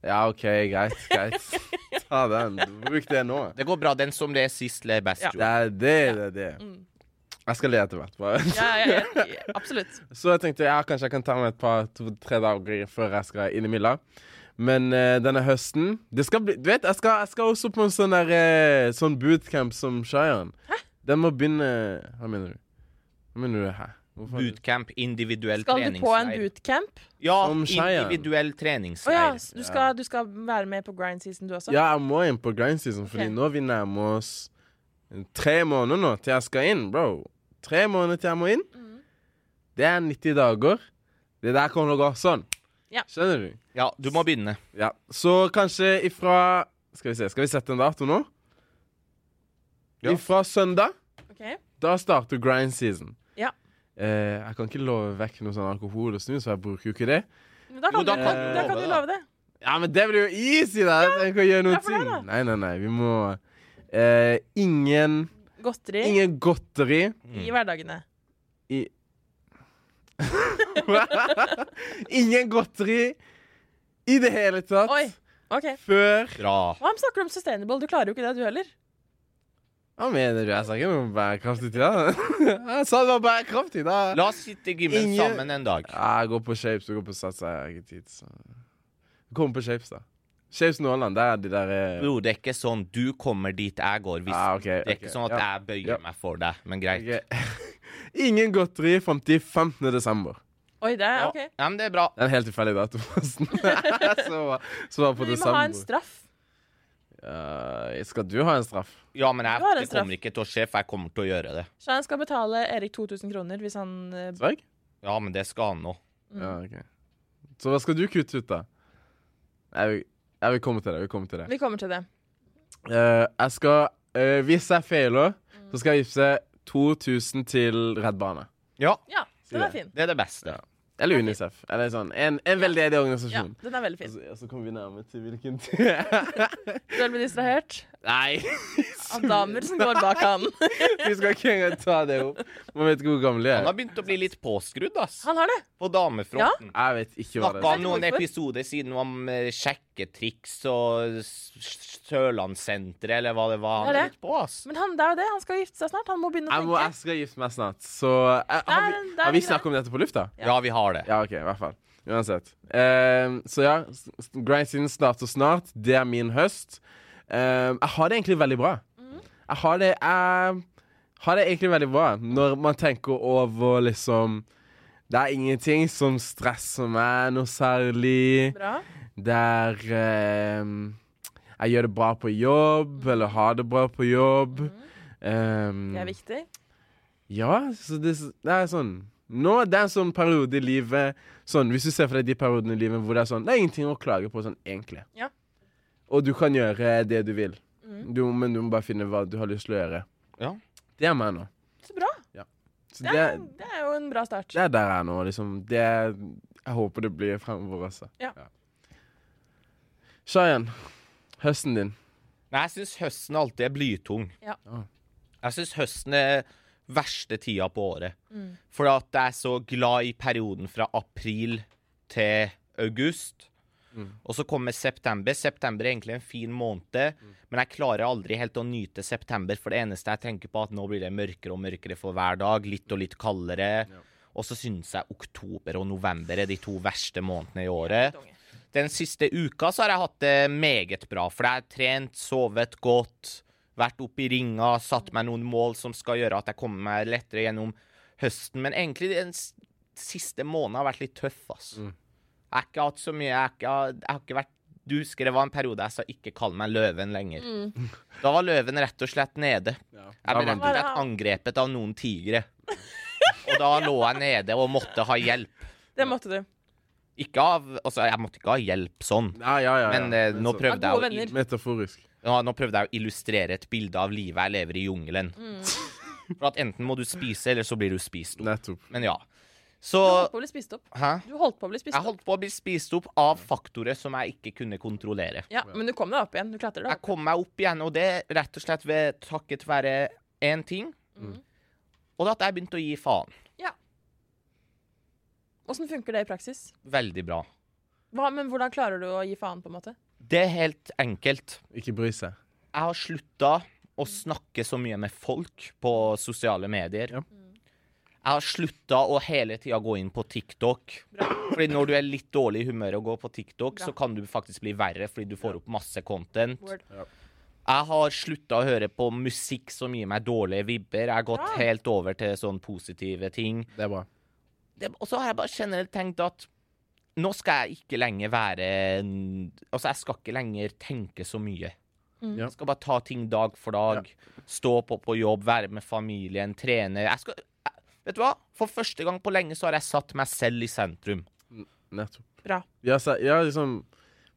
Speaker 3: Ja, OK, greit. greit. Ta den. Bruk det nå.
Speaker 2: Det går bra. Den som det er sist, ler best.
Speaker 1: Ja.
Speaker 2: tror
Speaker 3: Det
Speaker 2: jeg.
Speaker 3: er det, det er det.
Speaker 1: Mm.
Speaker 3: Jeg skal le etter hvert. Bare.
Speaker 1: Ja, ja, ja, absolutt.
Speaker 3: Så jeg tenkte ja, kanskje jeg kan ta meg et par to-tre dager før jeg skal inn i Milla. Men eh, denne høsten det skal bli, Du vet, jeg skal, jeg skal også på en sånn der, eh, sånn bootcamp som Shayan. Den må begynne Hva mener du? Hva mener du her? Hvorfor-
Speaker 2: Bootcamp, individuell
Speaker 1: Skal du på en
Speaker 2: treningsleir.
Speaker 1: bootcamp?
Speaker 2: Ja,
Speaker 3: Som Cheyenne.
Speaker 2: individuell
Speaker 1: Å ja,
Speaker 2: treningsleir.
Speaker 1: s- du skal, du skal være med på grind season, du også?
Speaker 3: Ja, jeg må inn på grind season, fordi
Speaker 1: Ok.
Speaker 3: nå vi nærmer oss tre måneder nå til jeg skal inn, bro. Tre måneder til jeg må inn.
Speaker 1: Mm.
Speaker 3: Det er 90 dager. Det der kommer til å gå sånn.
Speaker 1: Ja.
Speaker 3: Skjønner du?
Speaker 2: Ja, du må begynne.
Speaker 3: Ja. Så kanskje ifra Skal vi se, skal vi sette en dato nå?
Speaker 2: Ja.
Speaker 3: Ifra søndag,
Speaker 1: Ok.
Speaker 3: da starter grind season.
Speaker 1: Ja.
Speaker 3: Eh, jeg kan ikke love vekk noe sånn alkohol og snus, så jeg bruker jo ikke det.
Speaker 1: Men da
Speaker 2: Jo,
Speaker 1: kan,
Speaker 2: da
Speaker 1: du,
Speaker 2: kan
Speaker 1: da, kan
Speaker 2: du love
Speaker 1: du
Speaker 2: det, da.
Speaker 1: love det.
Speaker 3: Ja, men det blir jo easy, da! Jeg trenger ikke å gjøre
Speaker 1: Ja,
Speaker 3: noe
Speaker 1: for det
Speaker 3: ting.
Speaker 1: da.
Speaker 3: Nei, nei, nei. Vi må eh, Ingen
Speaker 1: Godteri
Speaker 3: Ingen godteri.
Speaker 1: i hverdagene.
Speaker 3: I Ingen godteri i det hele tatt
Speaker 1: Oi. OK.
Speaker 3: før
Speaker 2: Bra.
Speaker 1: Hva om snakker du om sustainable? Du klarer jo ikke det, du heller.
Speaker 3: Hva mener du? Jeg sa ikke noe bærekraftig til deg. Jeg sa det var bærekraftig, da.
Speaker 2: La oss sitte i gymmen
Speaker 3: Ingen-
Speaker 2: sammen en dag.
Speaker 3: Ja, jeg går på shapes og går på sats. Jeg har ikke tid. Så. Kom på shapes, da. Shapes Nåland, der er de der eh,
Speaker 2: Bro, det er ikke sånn du kommer dit jeg går. Hvis
Speaker 3: Ah, ok,
Speaker 2: det er ikke
Speaker 3: ok,
Speaker 2: sånn at
Speaker 3: ja.
Speaker 2: jeg bøyer
Speaker 3: Ja.
Speaker 2: meg for deg, men greit.
Speaker 3: ok. Ingen godteri fram til 15. desember.
Speaker 1: Oi, det er
Speaker 2: Ja.
Speaker 1: OK.
Speaker 2: Nei, men det er bra.
Speaker 3: Det er en helt tilfeldig dato, forresten. så, så var det på
Speaker 1: Men vi må ha en
Speaker 3: desember.
Speaker 1: straff.
Speaker 3: Eh, skal du ha en straff?
Speaker 2: Ja, men jeg,
Speaker 1: Du har en
Speaker 2: det
Speaker 1: straff.
Speaker 2: kommer ikke til å skje, for jeg kommer til å gjøre det.
Speaker 1: Så han skal betale Erik 2000 kroner hvis han eh,
Speaker 3: Sverg?
Speaker 2: Ja, men det skal han nå.
Speaker 3: Ja, ok. Så hva skal du kutte ut, da? Jeg vil, jeg vil komme til det. Jeg, vil komme til det.
Speaker 1: Vi kommer til det.
Speaker 3: Eh, jeg skal eh, Hvis jeg feiler, så skal jeg gipse 2000 til Redd Barna.
Speaker 2: Ja,
Speaker 1: Ja, den er fin.
Speaker 2: det er det beste.
Speaker 3: Eller Unicef. Eller sånn. En, en veldedig
Speaker 1: Ja,
Speaker 3: organisasjon.
Speaker 1: den er veldig
Speaker 3: Og
Speaker 1: fin.
Speaker 3: så, og så kommer vi nærme til hvilken
Speaker 1: Du blir distrahert
Speaker 3: Nei!
Speaker 1: av damer som går bak han.
Speaker 3: Vi skal ikke engang ta det opp. Man vet ikke hvor gammel de
Speaker 2: Han
Speaker 3: er.
Speaker 2: har begynt å bli litt påskrudd, ass.
Speaker 1: Han har det.
Speaker 2: På damefronten.
Speaker 3: Jeg vet ikke hva det
Speaker 2: Snakka
Speaker 3: er.
Speaker 2: om noen
Speaker 1: hvorfor.
Speaker 2: episoder siden om eh, sjekketriks og s- s- Sørlandssenteret, eller hva det var. Han
Speaker 1: Ja,
Speaker 2: er
Speaker 1: det.
Speaker 2: litt på, ass.
Speaker 1: Men han, det er jo det. Han skal gifte seg snart. Han må begynne å
Speaker 3: Jeg, må, jeg
Speaker 1: tenke.
Speaker 3: skal gifte meg snart, så jeg, har,
Speaker 1: Der-
Speaker 3: vi,
Speaker 1: der
Speaker 3: har vi
Speaker 1: er det.
Speaker 3: snakket om dette på lufta?
Speaker 2: Ja, vi har det.
Speaker 3: Ja, OK, i hvert fall. Uansett. Ehm, så ja, s- s- Grind Siden starter snart. Det er min høst. Ehm, jeg har det egentlig veldig bra. Jeg har det Jeg har det egentlig veldig bra når man tenker over liksom Det er ingenting som stresser meg noe særlig.
Speaker 1: Bra.
Speaker 3: Der ehm, jeg gjør det bra på jobb, eller har det bra på jobb. Ehm,
Speaker 1: Det er viktig.
Speaker 3: ja, så det, det er sånn Nå det er en sånn periode i livet sånn, Hvis du ser for deg de periodene i livet hvor det er sånn Det er ingenting å klage på sånn egentlig.
Speaker 1: Ja. Mm.
Speaker 3: Og du kan gjøre det du vil. Du, men du må bare finne hva du har lyst til å gjøre.
Speaker 2: Ja.
Speaker 3: Det er meg nå.
Speaker 1: Så bra.
Speaker 3: Så
Speaker 1: Det
Speaker 3: det,
Speaker 1: er, det er jo en bra start.
Speaker 3: det er der jeg er nå, liksom. Det er, jeg håper det blir fremover også.
Speaker 1: Ja.
Speaker 3: Shayan, høsten din.
Speaker 2: Nei, jeg syns høsten alltid er blytung.
Speaker 1: Ja.
Speaker 3: Ah.
Speaker 2: Jeg syns høsten er verste tida på året. For at jeg er så glad i perioden fra april til august. Og så kommer september. September er egentlig en fin måned, men jeg klarer aldri helt å nyte september, for det eneste jeg tenker på, er at nå blir det mørkere og mørkere for hver dag. Litt og litt kaldere. Og så syns jeg oktober og november er de to verste månedene i året.
Speaker 1: Tunge.
Speaker 2: Den siste uka så har jeg hatt det meget bra, for jeg har trent, sovet godt, vært oppe i ringa, satt meg noen mål som skal gjøre at jeg kommer meg lettere gjennom høsten. Men egentlig den s- siste måneden har vært litt tøff, ass. Jeg har ikke hatt så mye, jeg har ikke, jeg har ikke vært du husker det var en periode jeg sa ikke kall meg løven lenger. Da var løven rett og slett nede. Jeg ble
Speaker 3: Da
Speaker 2: rett
Speaker 3: vant
Speaker 2: og
Speaker 1: du.
Speaker 2: slett angrepet av noen tigre. Og da lå jeg nede og måtte ha hjelp.
Speaker 1: Det måtte du.
Speaker 2: Ikke av Altså, jeg måtte ikke ha hjelp sånn.
Speaker 3: Ja, ja, ja. ja.
Speaker 2: Men eh, nå,
Speaker 3: så-
Speaker 1: Ja,
Speaker 2: prøvde
Speaker 1: gode
Speaker 2: jeg å,
Speaker 1: venner.
Speaker 3: Metaforisk.
Speaker 2: ja, nå prøvde jeg å illustrere et bilde av livet jeg lever i jungelen.
Speaker 1: Mm.
Speaker 2: For at enten må du spise, eller så blir du spist opp.
Speaker 3: Nettopp.
Speaker 2: Men ja. Så
Speaker 1: Du holdt på å bli spist opp.
Speaker 2: Hæ?
Speaker 1: Du holdt på å bli spist
Speaker 2: Jeg
Speaker 1: opp.
Speaker 2: holdt på å bli spist opp av faktorer som jeg ikke kunne kontrollere.
Speaker 1: Ja, Men du kom deg opp igjen. Du klatrer deg
Speaker 2: Jeg
Speaker 1: opp.
Speaker 2: kom meg opp igjen, og det er rett og slett ved takket være én ting.
Speaker 1: Mm.
Speaker 2: Og det at jeg begynte å gi faen.
Speaker 1: Åssen funker det i praksis?
Speaker 2: Veldig bra.
Speaker 1: Hva, men hvordan klarer du å gi faen, på en måte?
Speaker 2: Det er helt enkelt.
Speaker 3: Ikke bry seg.
Speaker 2: jeg har slutta å snakke så mye med folk på sosiale medier.
Speaker 3: Ja.
Speaker 2: Jeg har slutta å hele tida gå inn på TikTok. Fordi når du er litt dårlig i humør og går på TikTok,
Speaker 1: Bra.
Speaker 2: så kan du faktisk bli verre fordi du får opp masse content.
Speaker 1: Word.
Speaker 2: Jeg har slutta å høre på musikk som gir meg dårlige vibber. Jeg har gått
Speaker 1: Bra.
Speaker 2: helt over til sånn positive ting.
Speaker 3: Det er bra.
Speaker 2: Det, og så har jeg bare generelt tenkt at nå skal jeg ikke lenger være en- Altså, jeg skal ikke lenger tenke så mye.
Speaker 3: Ja.
Speaker 2: Jeg skal bare ta ting dag for dag. Stå på på jobb, være med familien, trene. Jeg skal, jeg, vet du hva? For første gang på lenge så har jeg satt meg selv i sentrum.
Speaker 3: Nettopp.
Speaker 1: Bra.
Speaker 3: Ja, se- ja, liksom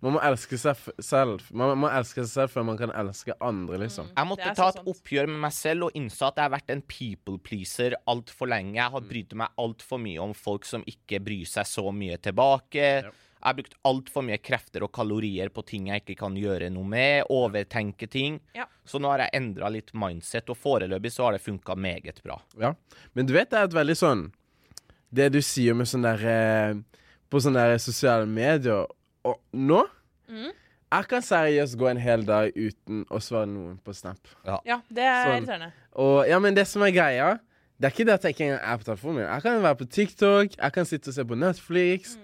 Speaker 3: Man må elske seg f selv. Man må elske seg selv før man kan elske andre, liksom.
Speaker 2: Jeg
Speaker 1: Det er så
Speaker 2: måtte ta et
Speaker 1: sant.
Speaker 2: oppgjør med meg selv og innså at jeg har vært en people pleaser altfor lenge. Jeg
Speaker 3: Mm.
Speaker 2: har brydd meg altfor mye om folk som ikke bryr seg så mye tilbake. Jeg har brukt altfor mye krefter og kalorier på ting jeg ikke kan gjøre noe med. Overtenke ting.
Speaker 1: Ja.
Speaker 2: Så nå har jeg endra litt mindset, og foreløpig så har det funka meget bra.
Speaker 3: Ja. Men du vet det er et veldig sånn Det du sier med sånn der eh, På sånne der sosiale medier Og nå Jeg kan seriøst gå en hel dag uten å svare noen på Snap.
Speaker 1: Ja, det er
Speaker 3: Sånn.
Speaker 1: irriterende.
Speaker 3: Og ja, men det som er greia Det er ikke det at jeg ikke engang er på telefonen min. Jeg kan være på TikTok, jeg kan sitte og se på Netflix,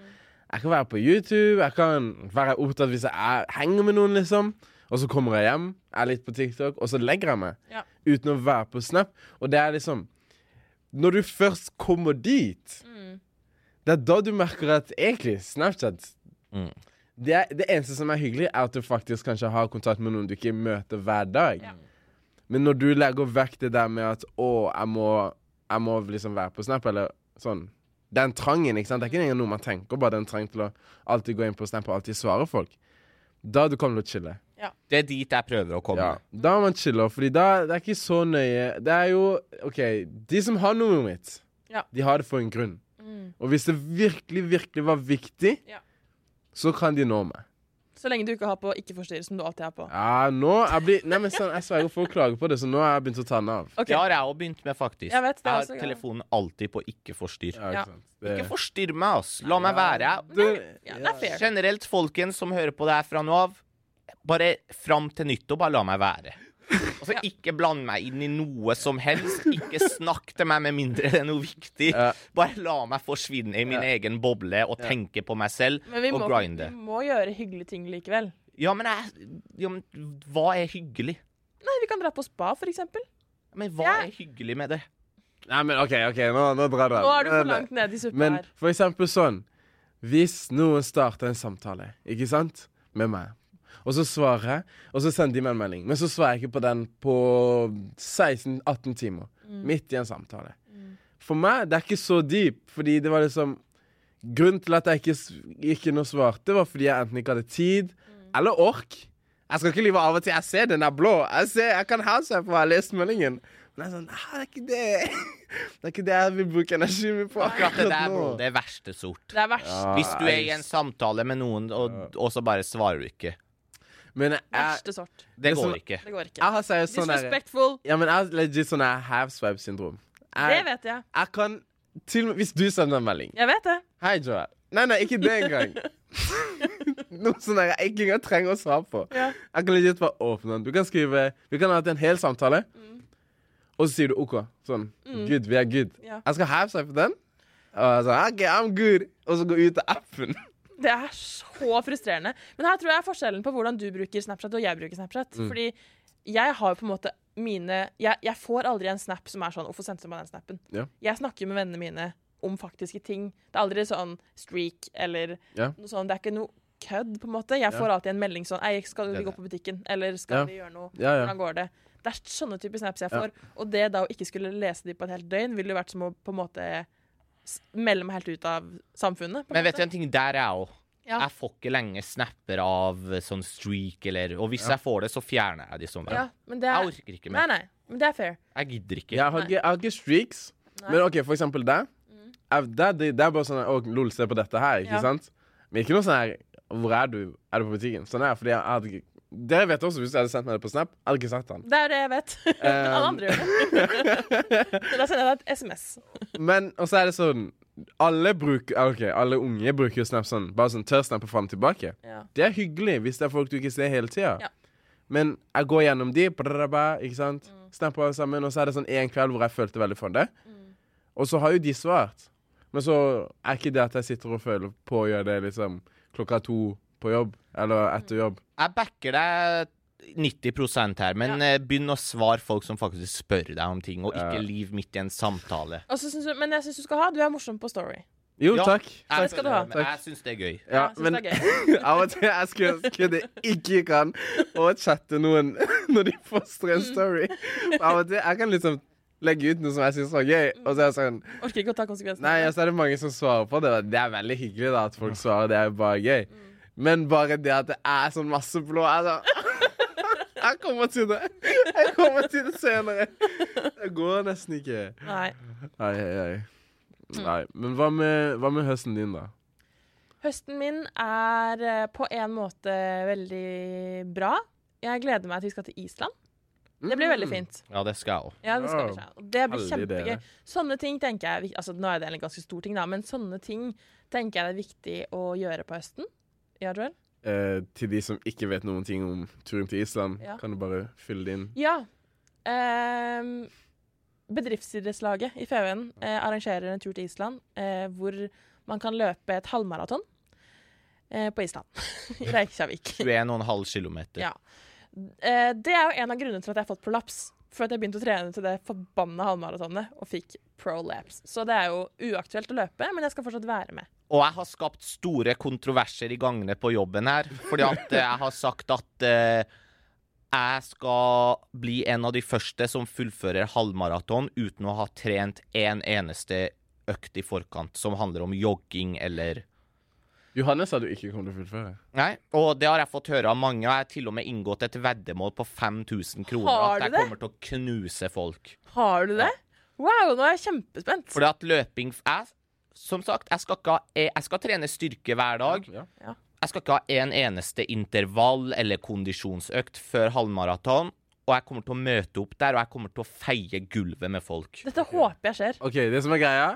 Speaker 3: jeg kan være på YouTube, jeg kan være opptatt hvis jeg er, henger med noen, liksom. Og så kommer jeg hjem, er litt på TikTok, og så legger jeg meg.
Speaker 1: Ja.
Speaker 3: Uten å være på Snap. Og det er liksom Når du først kommer dit,
Speaker 1: Mm.
Speaker 3: det er da du merker at egentlig Snapchat
Speaker 2: Mm.
Speaker 3: det, er, det eneste som er hyggelig, er at du faktisk kanskje har kontakt med noen du ikke møter hver dag.
Speaker 1: Ja.
Speaker 3: Men når du legger vekk det der med at å, jeg må, jeg må liksom være på Snap, eller sånn Den trangen, ikke sant? Det er ikke engang noe man tenker, bare den trangen til å alltid gå inn på Snap og alltid svare folk. Da du kommer til å chille.
Speaker 2: Det er dit jeg prøver å komme.
Speaker 3: Ja. Da er man chiller, fordi da det er ikke så nøye Det er jo OK, de som har nummeret mitt,
Speaker 1: Ja. Mm.
Speaker 3: De har det for en grunn. Og hvis det virkelig, virkelig var viktig,
Speaker 1: Ja.
Speaker 3: så kan de nå meg.
Speaker 1: Så lenge du ikke har på ikke forstyrre, som du alltid har på.
Speaker 3: Ja, nå jeg blir, Nei, men sånn, jeg sverger for å klage på det, så nå har jeg begynt å ta den av.
Speaker 1: Ok.
Speaker 2: Det har jeg òg begynt med, faktisk.
Speaker 1: Jeg vet, det er
Speaker 2: har
Speaker 1: også greit.
Speaker 2: telefonen alltid på ikke forstyrr.
Speaker 3: Ja,
Speaker 1: Ja.
Speaker 3: ikke sant? Det-
Speaker 2: Ikke forstyrr meg, ass. La meg være.
Speaker 3: Du-
Speaker 1: Ja, det er fair.
Speaker 2: Generelt, folkens som hører på det her fra nå av, bare fram til nyttår, bare la meg være. Altså, Ikke bland meg inn i noe som helst. Ikke snakk til meg med mindre det er noe viktig.
Speaker 3: Ja.
Speaker 2: Bare la meg forsvinne i min egen boble og tenke på meg selv
Speaker 1: Men vi
Speaker 2: og
Speaker 1: må,
Speaker 2: grinde.
Speaker 1: vi må gjøre hyggelige ting likevel.
Speaker 2: Ja, men jeg ja, men, Hva er hyggelig?
Speaker 1: Nei, vi kan dra på spa, for eksempel.
Speaker 2: Men hva
Speaker 1: Ja.
Speaker 2: er hyggelig med det?
Speaker 3: Nei, men OK, ok, nå, nå drar du av.
Speaker 1: Nå er du for langt nede i suppa
Speaker 3: Men
Speaker 1: her.
Speaker 3: for eksempel sånn Hvis noen starter en samtale, ikke sant, med meg, og så svarer jeg, og så sender de meg en melding, men så svarer jeg ikke på den på 16-18 timer.
Speaker 2: Mm.
Speaker 3: Midt i en samtale. For meg, det er ikke så deep, fordi det var liksom Grunnen til at jeg ikke s- gikk inn og svarte, var fordi jeg enten ikke hadde tid
Speaker 2: Mm.
Speaker 3: eller ork. Jeg skal ikke lyve av og til. Jeg ser den er blå. Jeg, ser, jeg kan house her for jeg har lest meldingen. Men jeg er sånn «Ah, Det er ikke det Det er ikke det jeg vil bruke energien min på
Speaker 2: Akkurat det der, bro,
Speaker 3: nå.»
Speaker 2: det er verste sort.
Speaker 1: Det er verst.
Speaker 2: Hvis du er i en samtale med noen, og, og så bare svarer du ikke.
Speaker 3: Men jeg, jeg,
Speaker 1: Verste sort.
Speaker 2: Det
Speaker 3: som-
Speaker 2: går ikke.
Speaker 1: Det går ikke.
Speaker 3: jeg har seriøst sånn der
Speaker 1: Disrespectful.
Speaker 3: Ja, men jeg har legit sånn der half-swipe-syndrom.
Speaker 1: Det
Speaker 3: Jeg,
Speaker 1: vet jeg.
Speaker 3: jeg kan til og med Hvis du sender en melding
Speaker 1: Jeg vet det.
Speaker 3: Hei, Joel. Nei, nei, ikke det engang. Noe sånn der jeg ikke engang trenger å svare på.
Speaker 1: Ja.
Speaker 3: Jeg kan legit bare åpne den. Du kan skrive Vi kan ha hatt en hel samtale,
Speaker 1: Mm.
Speaker 3: og så sier du OK. Sånn. Good. Vi er good.
Speaker 1: Ja.
Speaker 3: Jeg skal half-swipe den, og jeg sånn OK, I'm good. Og så gå ut av appen.
Speaker 1: Det er så frustrerende. Men her tror jeg er forskjellen på hvordan du bruker Snapchat og jeg bruker Snapchat.
Speaker 3: Mm.
Speaker 1: Fordi jeg har jo på en måte mine jeg, jeg får aldri en snap som er sånn 'Hvorfor sendte du meg den snappen?'
Speaker 3: Ja.
Speaker 1: Jeg snakker jo med vennene mine om faktiske ting. Det er aldri sånn streak eller
Speaker 3: Ja.
Speaker 1: noe sånn. Det er ikke noe kødd, på en måte. Jeg får alltid en melding sånn 'Ei, skal vi
Speaker 3: Det-
Speaker 1: gå på butikken?' Eller 'Skal
Speaker 3: Ja.
Speaker 1: vi gjøre noe?'
Speaker 3: Ja, ja.
Speaker 1: Hvordan går det? Det er sånne typer snaps jeg får. Og det da å ikke skulle lese de på et helt døgn, ville jo vært som å på en måte s- melde meg helt ut av samfunnet. På en
Speaker 2: Men
Speaker 1: måte.
Speaker 2: vet du en ting? Der er jeg òg.
Speaker 1: Ja.
Speaker 2: Jeg får ikke lenge snapper av eh, sånn streak eller Og hvis jeg får det, så fjerner jeg de sånn.
Speaker 1: Ja, men det er,
Speaker 2: Jeg orker ikke
Speaker 1: Nei,
Speaker 2: mer.
Speaker 1: nei, men det er fair.
Speaker 2: Jeg gidder ikke.
Speaker 3: Jeg har ikke, jeg har ikke streaks. Men OK, for eksempel der. Jeg, der det, det er bare sånn Å, lol, se på dette her, ikke
Speaker 1: Ja.
Speaker 3: sant? Men ikke noe sånn her Hvor er du? Er du på butikken? Sånn her, fordi jeg hadde ikke Dere vet også, hvis jeg hadde sendt meg det på Snap, jeg hadde ikke sett den.
Speaker 1: Det er det jeg vet. Alle andre gjør det. Men da sender jeg deg et SMS.
Speaker 3: Men og så er det sånn Alle bruker ja, OK, alle unge bruker jo Snap sånn. Bare sånn tør snappe fram og tilbake.
Speaker 1: Ja.
Speaker 3: Det er hyggelig hvis det er folk du ikke ser hele tida.
Speaker 1: Ja.
Speaker 3: Men jeg går gjennom de, brrrrabba, ikke sant?
Speaker 1: Mm.
Speaker 3: Snapper alle sammen, og så er det sånn en kveld hvor jeg følte veldig for det. Og så har jo de svart. Men så er ikke det at jeg sitter og føler på å gjøre det liksom klokka to på jobb, eller
Speaker 1: Mm.
Speaker 3: etter jobb.
Speaker 2: Jeg backer deg 90 her, men eh, begynn å svare folk som faktisk spør deg om ting, og ikke liv midt i en samtale.
Speaker 1: Og så synes du, men jeg syns du skal ha. Du er morsom på Story.
Speaker 3: Jo,
Speaker 2: Ja.
Speaker 3: takk.
Speaker 2: Jeg-
Speaker 1: Det skal du ha.
Speaker 2: Men jeg syns det er gøy.
Speaker 3: Ja,
Speaker 1: jeg synes
Speaker 3: men
Speaker 1: det er gøy.
Speaker 3: av og til jeg skulle ønske det ikke kan å chatte noen når de poster en story.
Speaker 1: Mm.
Speaker 3: Av og til jeg kan liksom legge ut noe som jeg syns var gøy, og så er jeg sånn
Speaker 1: Orker ikke å ta konsekvensene.
Speaker 3: Nei, altså, er det mange som svarer på det. Det er veldig hyggelig da, at folk svarer. Det er jo bare gøy.
Speaker 1: Mm.
Speaker 3: Men bare det at det er sånn masse blå altså. Jeg kommer til det. Jeg kommer til det senere. Det går nesten ikke.
Speaker 1: Nei.
Speaker 3: Nei, nei,
Speaker 1: Mm.
Speaker 3: nei. nei. Men hva med, hva med høsten din, da?
Speaker 1: Høsten min er eh, på en måte veldig bra. Jeg gleder meg til vi skal til Island. Det blir veldig fint.
Speaker 2: Ja, det skal jeg òg.
Speaker 1: Ja, det skal vi
Speaker 3: Ja.
Speaker 1: se. Og Det blir
Speaker 3: Mm. Heldig
Speaker 1: kjempegøy.
Speaker 3: dere.
Speaker 1: Sånne ting tenker jeg er vik- altså, Nå er det en ganske stor ting, da, men sånne ting tenker jeg det er viktig å gjøre på høsten. Ja, Joel?
Speaker 3: Eh, til de som ikke vet noen ting om turen til Island,
Speaker 1: Ja.
Speaker 3: kan du bare fylle det inn?
Speaker 1: Ja. Ehm, bedriftsidrettslaget i FVN eh, arrangerer en tur til Island eh, hvor man kan løpe et halvmaraton eh, på Island. I Reykjavik.
Speaker 2: 21,5 km.
Speaker 1: Ja. Eh, det er jo en av grunnene til at jeg har fått prolaps. For at jeg begynte å trene til det forbanna halvmaratonet og fikk prolaps. Så det er jo uaktuelt å løpe, men jeg skal fortsatt være med.
Speaker 2: Og jeg har skapt store kontroverser i gangene på jobben her. Fordi at eh, jeg har sagt at eh, jeg skal bli en av de første som fullfører halvmaraton uten å ha trent en eneste økt i forkant som handler om jogging eller
Speaker 3: Johannes sa du ikke kom til å fullføre.
Speaker 2: Nei, og det har jeg fått høre av mange. og Jeg har til og med inngått et veddemål på 5000 kroner
Speaker 1: Har
Speaker 2: at
Speaker 1: du
Speaker 2: jeg
Speaker 1: det?
Speaker 2: kommer til å knuse folk.
Speaker 1: Har du det? Wow, nå er jeg kjempespent.
Speaker 2: Fordi at løping jeg, Som sagt, jeg skal, ikke ha, jeg jeg skal trene styrke hver dag.
Speaker 3: Ja.
Speaker 1: Ja.
Speaker 2: Jeg skal ikke ha en eneste intervall eller kondisjonsøkt før halvmaraton. Og jeg kommer til å møte opp der, og jeg kommer til å feie gulvet med folk.
Speaker 1: Dette håper jeg skjer.
Speaker 3: OK, det som er greia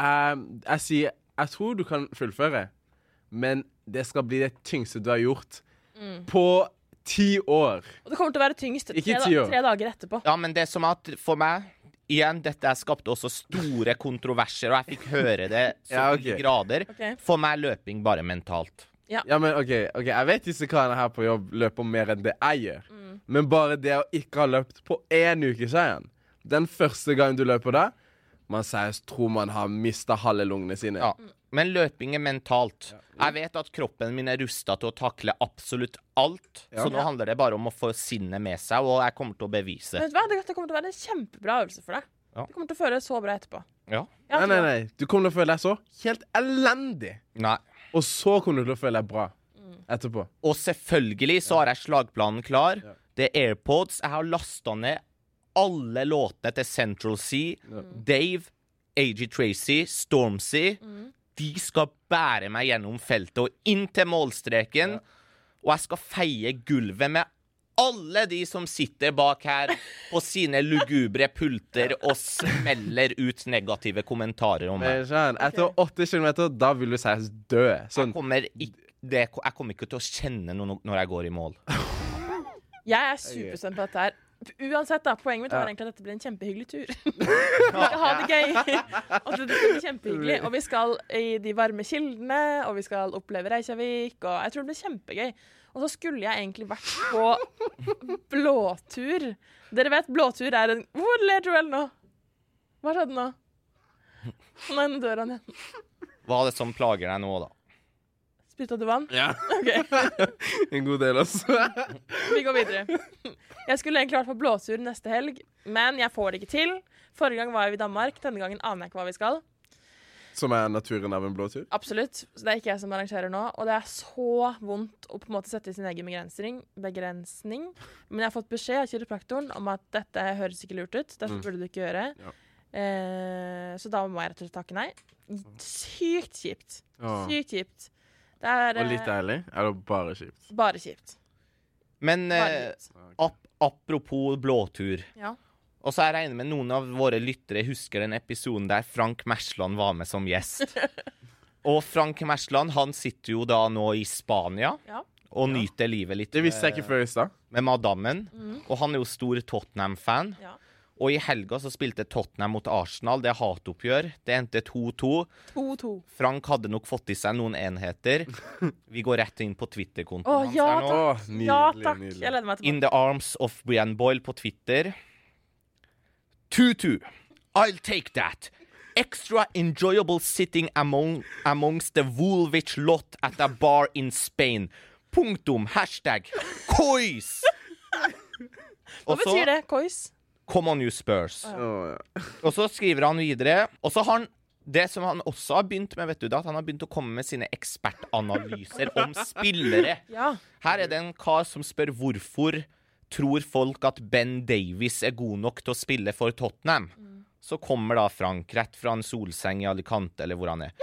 Speaker 3: eh, Jeg sier Jeg tror du kan fullføre, men det skal bli det tyngste du har gjort på ti år.
Speaker 1: Og det kommer til å være tyngst tre,
Speaker 3: Ikke
Speaker 1: da,
Speaker 3: ti år.
Speaker 1: tre dager etterpå.
Speaker 2: Ja, men det som er at for meg Igjen, dette her skapte også store kontroverser, og jeg fikk høre det så
Speaker 3: Ja,
Speaker 2: til de
Speaker 3: ok.
Speaker 2: grader.
Speaker 1: Ok.
Speaker 2: For meg er løping bare mentalt.
Speaker 3: Ja, men OK, ok, jeg vet disse karene her på jobb løper mer enn det jeg gjør. Men bare det å ikke ha løpt på én uke, sier han. Den første gangen du løper da, man seriøst tror man har mista halve lungene sine.
Speaker 2: Ja. Men løping er mentalt. Jeg vet at kroppen min er rusta til å takle absolutt alt, så nå handler det bare om å få sinnet med seg, og jeg kommer til å bevise
Speaker 1: Men
Speaker 2: det.
Speaker 1: vet du hva? Det- Dette kommer til å være en kjempebra øvelse for deg.
Speaker 2: Ja.
Speaker 1: Du kommer til å føle deg så bra etterpå.
Speaker 2: Ja.
Speaker 1: Jeg har
Speaker 3: Nei, nei,
Speaker 1: troa.
Speaker 3: nei. Du kommer til å føle deg så helt elendig.
Speaker 2: Nei.
Speaker 3: Og så kommer du til å føle deg bra etterpå.
Speaker 2: Og selvfølgelig så har jeg slagplanen klar. Det er AirPods. Jeg har lasta ned alle låtene til Central Sea. Dave, AG Tracy, Stormzy. De skal bære meg gjennom feltet og inn til målstreken. Og jeg skal feie gulvet med alle de som sitter bak her på sine lugubre pulter og smeller ut negative kommentarer om meg.
Speaker 3: Men skjønn, Etter åtte kilometer, da vil du seriøst dø.
Speaker 2: Jeg
Speaker 3: Sånn.
Speaker 2: kommer, ikke, det, jeg kommer ikke til å kjenne noe når jeg går i mål.
Speaker 1: Jeg er superspent på dette her. Uansett, da, poenget mitt var egentlig at dette blir en kjempehyggelig tur. Vi skal ha det gøy. Og det blir kjempehyggelig. Og vi skal i de varme kildene, og vi skal oppleve Reykjavik, og jeg tror det blir kjempegøy. Og så skulle jeg egentlig vært på blåtur. Dere vet, blåtur er en Hvor ler Joel nå? Hva skjedde nå? Å Nei, nå dør han igjen.
Speaker 2: Hva er det som plager deg nå, da?
Speaker 1: Spytta du vann?
Speaker 3: Ja.
Speaker 1: OK.
Speaker 3: En god del, altså.
Speaker 1: Vi går videre. Jeg skulle egentlig vært på blåtur neste helg, men jeg får det ikke til. Forrige gang var vi i Danmark, denne gangen aner jeg ikke hva vi skal.
Speaker 3: Som er naturen av en blåtur.
Speaker 1: Absolutt. Så det er ikke jeg som arrangerer nå. Og det er så vondt å på en måte sette sin egen begrensning. begrensning. Men jeg har fått beskjed av kiropraktoren om at dette høres ikke lurt ut. Dette burde du ikke gjøre.
Speaker 3: Mm. Ja.
Speaker 1: Eh, så da må jeg rett og slett takke nei. Sykt kjipt.
Speaker 3: Åh.
Speaker 1: Sykt kjipt. Det er
Speaker 3: Og litt
Speaker 1: eh,
Speaker 3: ærlig, er det bare kjipt.
Speaker 1: bare kjipt.
Speaker 2: Men
Speaker 1: Bare
Speaker 2: eh,
Speaker 1: kjipt.
Speaker 2: ap apropos blåtur.
Speaker 1: Ja.
Speaker 2: Og så jeg regner med noen av våre lyttere husker den episoden der Frank Mersland var med som gjest. Og Frank Mersland han sitter jo da nå i Spania
Speaker 1: Ja.
Speaker 2: og nyter livet litt
Speaker 3: Det visste jeg ikke før i stad.
Speaker 2: med madammen. Og han er jo stor Tottenham-fan.
Speaker 1: Mm. ja.
Speaker 2: Og i helga så spilte Tottenham mot Arsenal. Det er hatoppgjør. Det endte 2-2.
Speaker 1: 2-2.
Speaker 2: Frank hadde nok fått i seg noen enheter. Vi går rett inn på Twitter-kontoen
Speaker 1: Å,
Speaker 2: hans
Speaker 1: ja,
Speaker 2: her nå.
Speaker 3: Å,
Speaker 1: Ja
Speaker 3: nydelig.
Speaker 1: takk. Jeg
Speaker 3: nydelig.
Speaker 1: gleder meg til
Speaker 2: In the arms of Brian Boyle på Twitter. Tutu, I'll take that. Extra enjoyable sitting among, amongst the Woolwich lot at a bar in Spain. Punktum. Hashtag coys.
Speaker 1: Hva betyr det? Kois?
Speaker 2: Come on, you Spurs.
Speaker 3: Å, ja.
Speaker 2: Og så skriver han videre. Og så har han det som han også har begynt med, vet du, det er at han har begynt å komme med sine ekspertanalyser om spillere.
Speaker 1: Ja.
Speaker 2: Her er det en kar som spør hvorfor tror folk at Ben Davies er god nok til å spille for Tottenham. Så kommer da Frank rett fra en solseng i Alicante, eller hvor han er.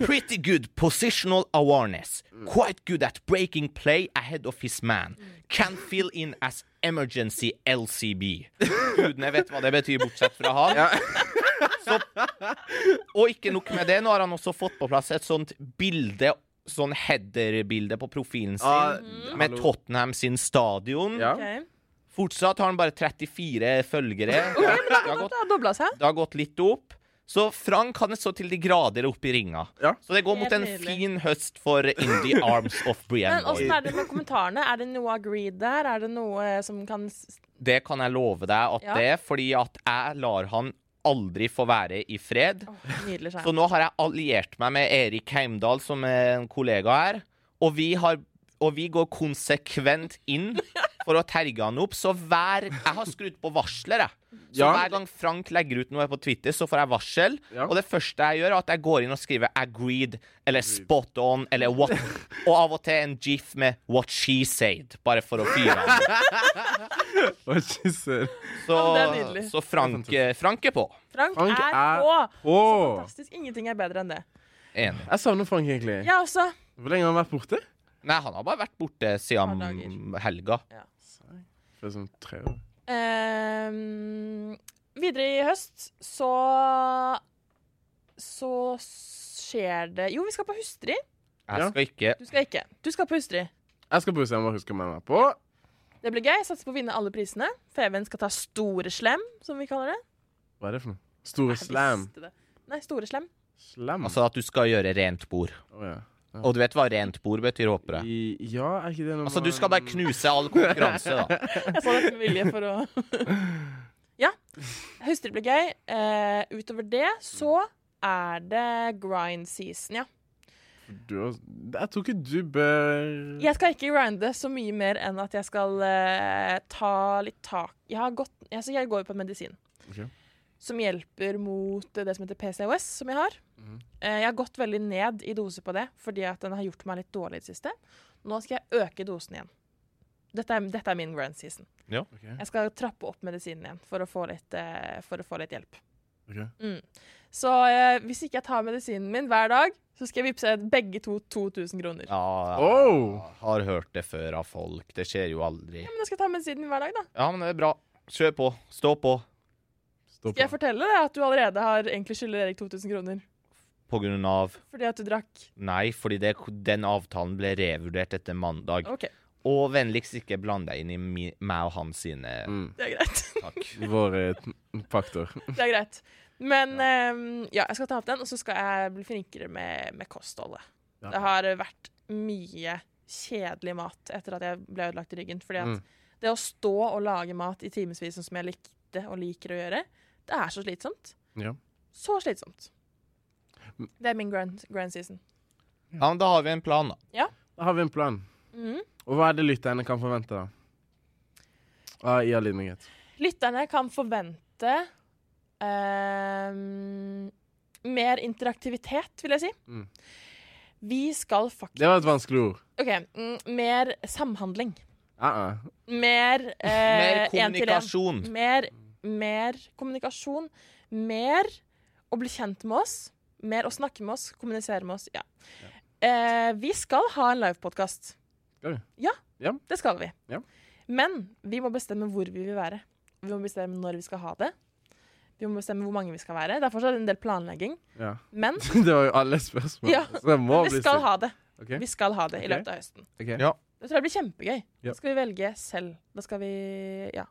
Speaker 2: Pretty good positional awareness. Quite good at breaking play ahead of his man. Can fill in as emergency LCB. Gudene vet hva det betyr, bortsett fra han. Så, og ikke nok med det, nå har han også fått på plass et sånt bilde, sånn header-bilde på profilen sin.
Speaker 3: Ah,
Speaker 2: Med Tottenham sin stadion.
Speaker 3: Ja.
Speaker 1: OK.
Speaker 2: Fortsatt har han bare 34 følgere. Det har- det, har gått,
Speaker 1: Det har dobla seg.
Speaker 2: det har gått litt opp. Så Frank han er så til de grader opp i ringa.
Speaker 3: Ja.
Speaker 2: Så det går mot
Speaker 1: Helt
Speaker 2: en
Speaker 1: nydelig.
Speaker 2: fin høst for In the Arms of Brian
Speaker 1: Men åssen
Speaker 2: Boyd.
Speaker 1: er det med kommentarene? Er det noe agreed der? Er det noe eh, som kan s-
Speaker 2: Det kan jeg love deg at
Speaker 1: Ja.
Speaker 2: det er, fordi at jeg lar han aldri få være i fred.
Speaker 1: Åh, Nydelig
Speaker 2: Så
Speaker 1: skjerm.
Speaker 2: nå har jeg alliert meg med Erik Heimdal, som er en kollega her. Og vi, har, og vi går konsekvent inn for å terge han opp. Så hver Jeg har skrudd på varsler, jeg. Så
Speaker 3: Ja.
Speaker 2: hver gang Frank legger ut noe på Twitter, så får jeg varsel.
Speaker 3: Ja.
Speaker 2: Og det første jeg gjør, er at jeg går inn og skriver 'agreed' eller 'spot on' eller what Og av og til en gif med 'what she said', bare for å fyre han. opp.
Speaker 3: Hva skisser?
Speaker 2: Så,
Speaker 1: Ja, men det er nydelig.
Speaker 2: så Frank, Frank er på.
Speaker 1: Frank,
Speaker 3: Frank
Speaker 1: er,
Speaker 3: er
Speaker 1: på!
Speaker 3: på.
Speaker 1: Fantastisk. Ingenting er bedre enn det.
Speaker 2: Enig.
Speaker 3: Jeg savner Frank, egentlig.
Speaker 1: Jeg også.
Speaker 3: Hvor lenge har han vært borte?
Speaker 2: Nei, han har bare vært borte
Speaker 1: Par
Speaker 2: siden
Speaker 1: dager.
Speaker 2: helga.
Speaker 3: For sånn tre år.
Speaker 1: Ehm, videre i høst så Så skjer det Jo, vi skal på Hustri.
Speaker 2: Jeg
Speaker 3: Ja.
Speaker 2: skal ikke
Speaker 1: Du skal ikke. Du skal på Hustri.
Speaker 3: Jeg skal bruke meg og huske hvem jeg var på.
Speaker 1: Det blir gøy. Satser på å vinne alle prisene. Feven skal ta Store Slem, som vi kaller det.
Speaker 3: Hva er det for noe? Store slam.
Speaker 1: Jeg visste det. Nei, Store Slem.
Speaker 3: Slam?
Speaker 2: Altså at du skal gjøre rent bord.
Speaker 3: Å, ja.
Speaker 2: Og du vet hva rent bord betyr, håper jeg.
Speaker 3: I, ja, er ikke det noe
Speaker 2: Altså, du
Speaker 3: man-
Speaker 2: skal bare knuse all konkurranse, da.
Speaker 1: Jeg sa det med vilje for å Ja. Hustri blir gøy. Eh, utover det så er det grind season, ja.
Speaker 3: du, Jeg tror ikke du bør
Speaker 1: Jeg skal ikke grinde så mye mer enn at jeg skal eh, ta litt tak Jeg, har gått, altså jeg går jo på en medisin
Speaker 3: Ok.
Speaker 1: som hjelper mot eh, det som heter PCOS, som jeg har. Eh, jeg har gått veldig ned i dose på det fordi at den har gjort meg litt dårlig i det siste. Nå skal jeg øke dosen igjen. Dette er, dette er min grind season.
Speaker 3: Ok,
Speaker 1: Jeg skal trappe opp medisinen igjen for å få litt, eh, for å få litt hjelp.
Speaker 3: ok.
Speaker 1: Så eh, hvis ikke jeg tar medisinen min hver dag, så skal jeg vippse begge to 2000 kroner.
Speaker 2: Ja,
Speaker 3: Oh!
Speaker 2: jeg har hørt det før av folk. Det skjer jo aldri.
Speaker 1: Men jeg skal ta medisinen min hver dag, da.
Speaker 2: Ja, men det er bra. Kjør på. Stå på.
Speaker 3: Stå
Speaker 1: Skal jeg
Speaker 3: på.
Speaker 1: fortelle deg at du allerede har egentlig skylder Erik 2000 kroner?
Speaker 2: På grunn av
Speaker 1: Fordi at du drakk.
Speaker 2: Nei, fordi det, den avtalen ble revurdert etter mandag.
Speaker 1: OK,
Speaker 2: Og vennligst ikke bland deg inn i mi, meg og hans sine
Speaker 3: Mm.
Speaker 1: det er greit.
Speaker 2: Takk.
Speaker 3: Vår eh, faktor.
Speaker 1: det er greit. Men ehm, ja, jeg skal ta opp den, og så skal jeg bli flinkere med, med kostholdet.
Speaker 3: Ja.
Speaker 1: Det har vært mye kjedelig mat etter at jeg ble ødelagt i ryggen. Fordi at
Speaker 3: Mm.
Speaker 1: det å stå og lage mat i timevis, sånn som jeg likte og liker å gjøre, det er så slitsomt.
Speaker 3: Ja. Mm.
Speaker 1: Så slitsomt. Det er min grand, grand season.
Speaker 2: Ja, men da har vi en plan, da.
Speaker 3: Da har vi en plan.
Speaker 1: Mhm.
Speaker 3: Og hva er det lytterne kan forvente, da? Ah, I all ydmykhet.
Speaker 1: Lytterne kan forvente ehm, mer interaktivitet, vil jeg si.
Speaker 3: Mm.
Speaker 1: Vi skal faktisk
Speaker 3: Det var et vanskelig ord.
Speaker 1: OK. Mm, mer samhandling.
Speaker 3: Ah, ah.
Speaker 1: Mer
Speaker 2: Mer
Speaker 1: eh, en til en.
Speaker 2: kommunikasjon.
Speaker 1: Mer, mer kommunikasjon. Mer å bli kjent med oss. Mer å snakke med oss, kommunisere med oss. Ja. Eh, vi skal ha en livepodkast.
Speaker 3: Skal vi?
Speaker 1: Ja,
Speaker 3: Ja.
Speaker 1: det skal vi.
Speaker 3: Ja.
Speaker 1: Men vi må bestemme hvor vi vil være. Vi må bestemme når vi skal ha det. Vi må bestemme hvor mange vi skal være. Det er fortsatt en del planlegging.
Speaker 3: Ja.
Speaker 1: Men
Speaker 3: Det var jo alle spørsmål.
Speaker 1: Ja.
Speaker 3: Så det må
Speaker 1: vi
Speaker 3: bli
Speaker 1: skal
Speaker 3: stilt.
Speaker 1: ha det.
Speaker 3: Ok,
Speaker 1: Vi skal ha det
Speaker 3: Ok.
Speaker 1: i løpet av høsten.
Speaker 3: ok.
Speaker 2: Ja.
Speaker 1: Det tror jeg blir kjempegøy.
Speaker 3: Ja.
Speaker 1: Da skal vi velge selv. Da skal vi ja,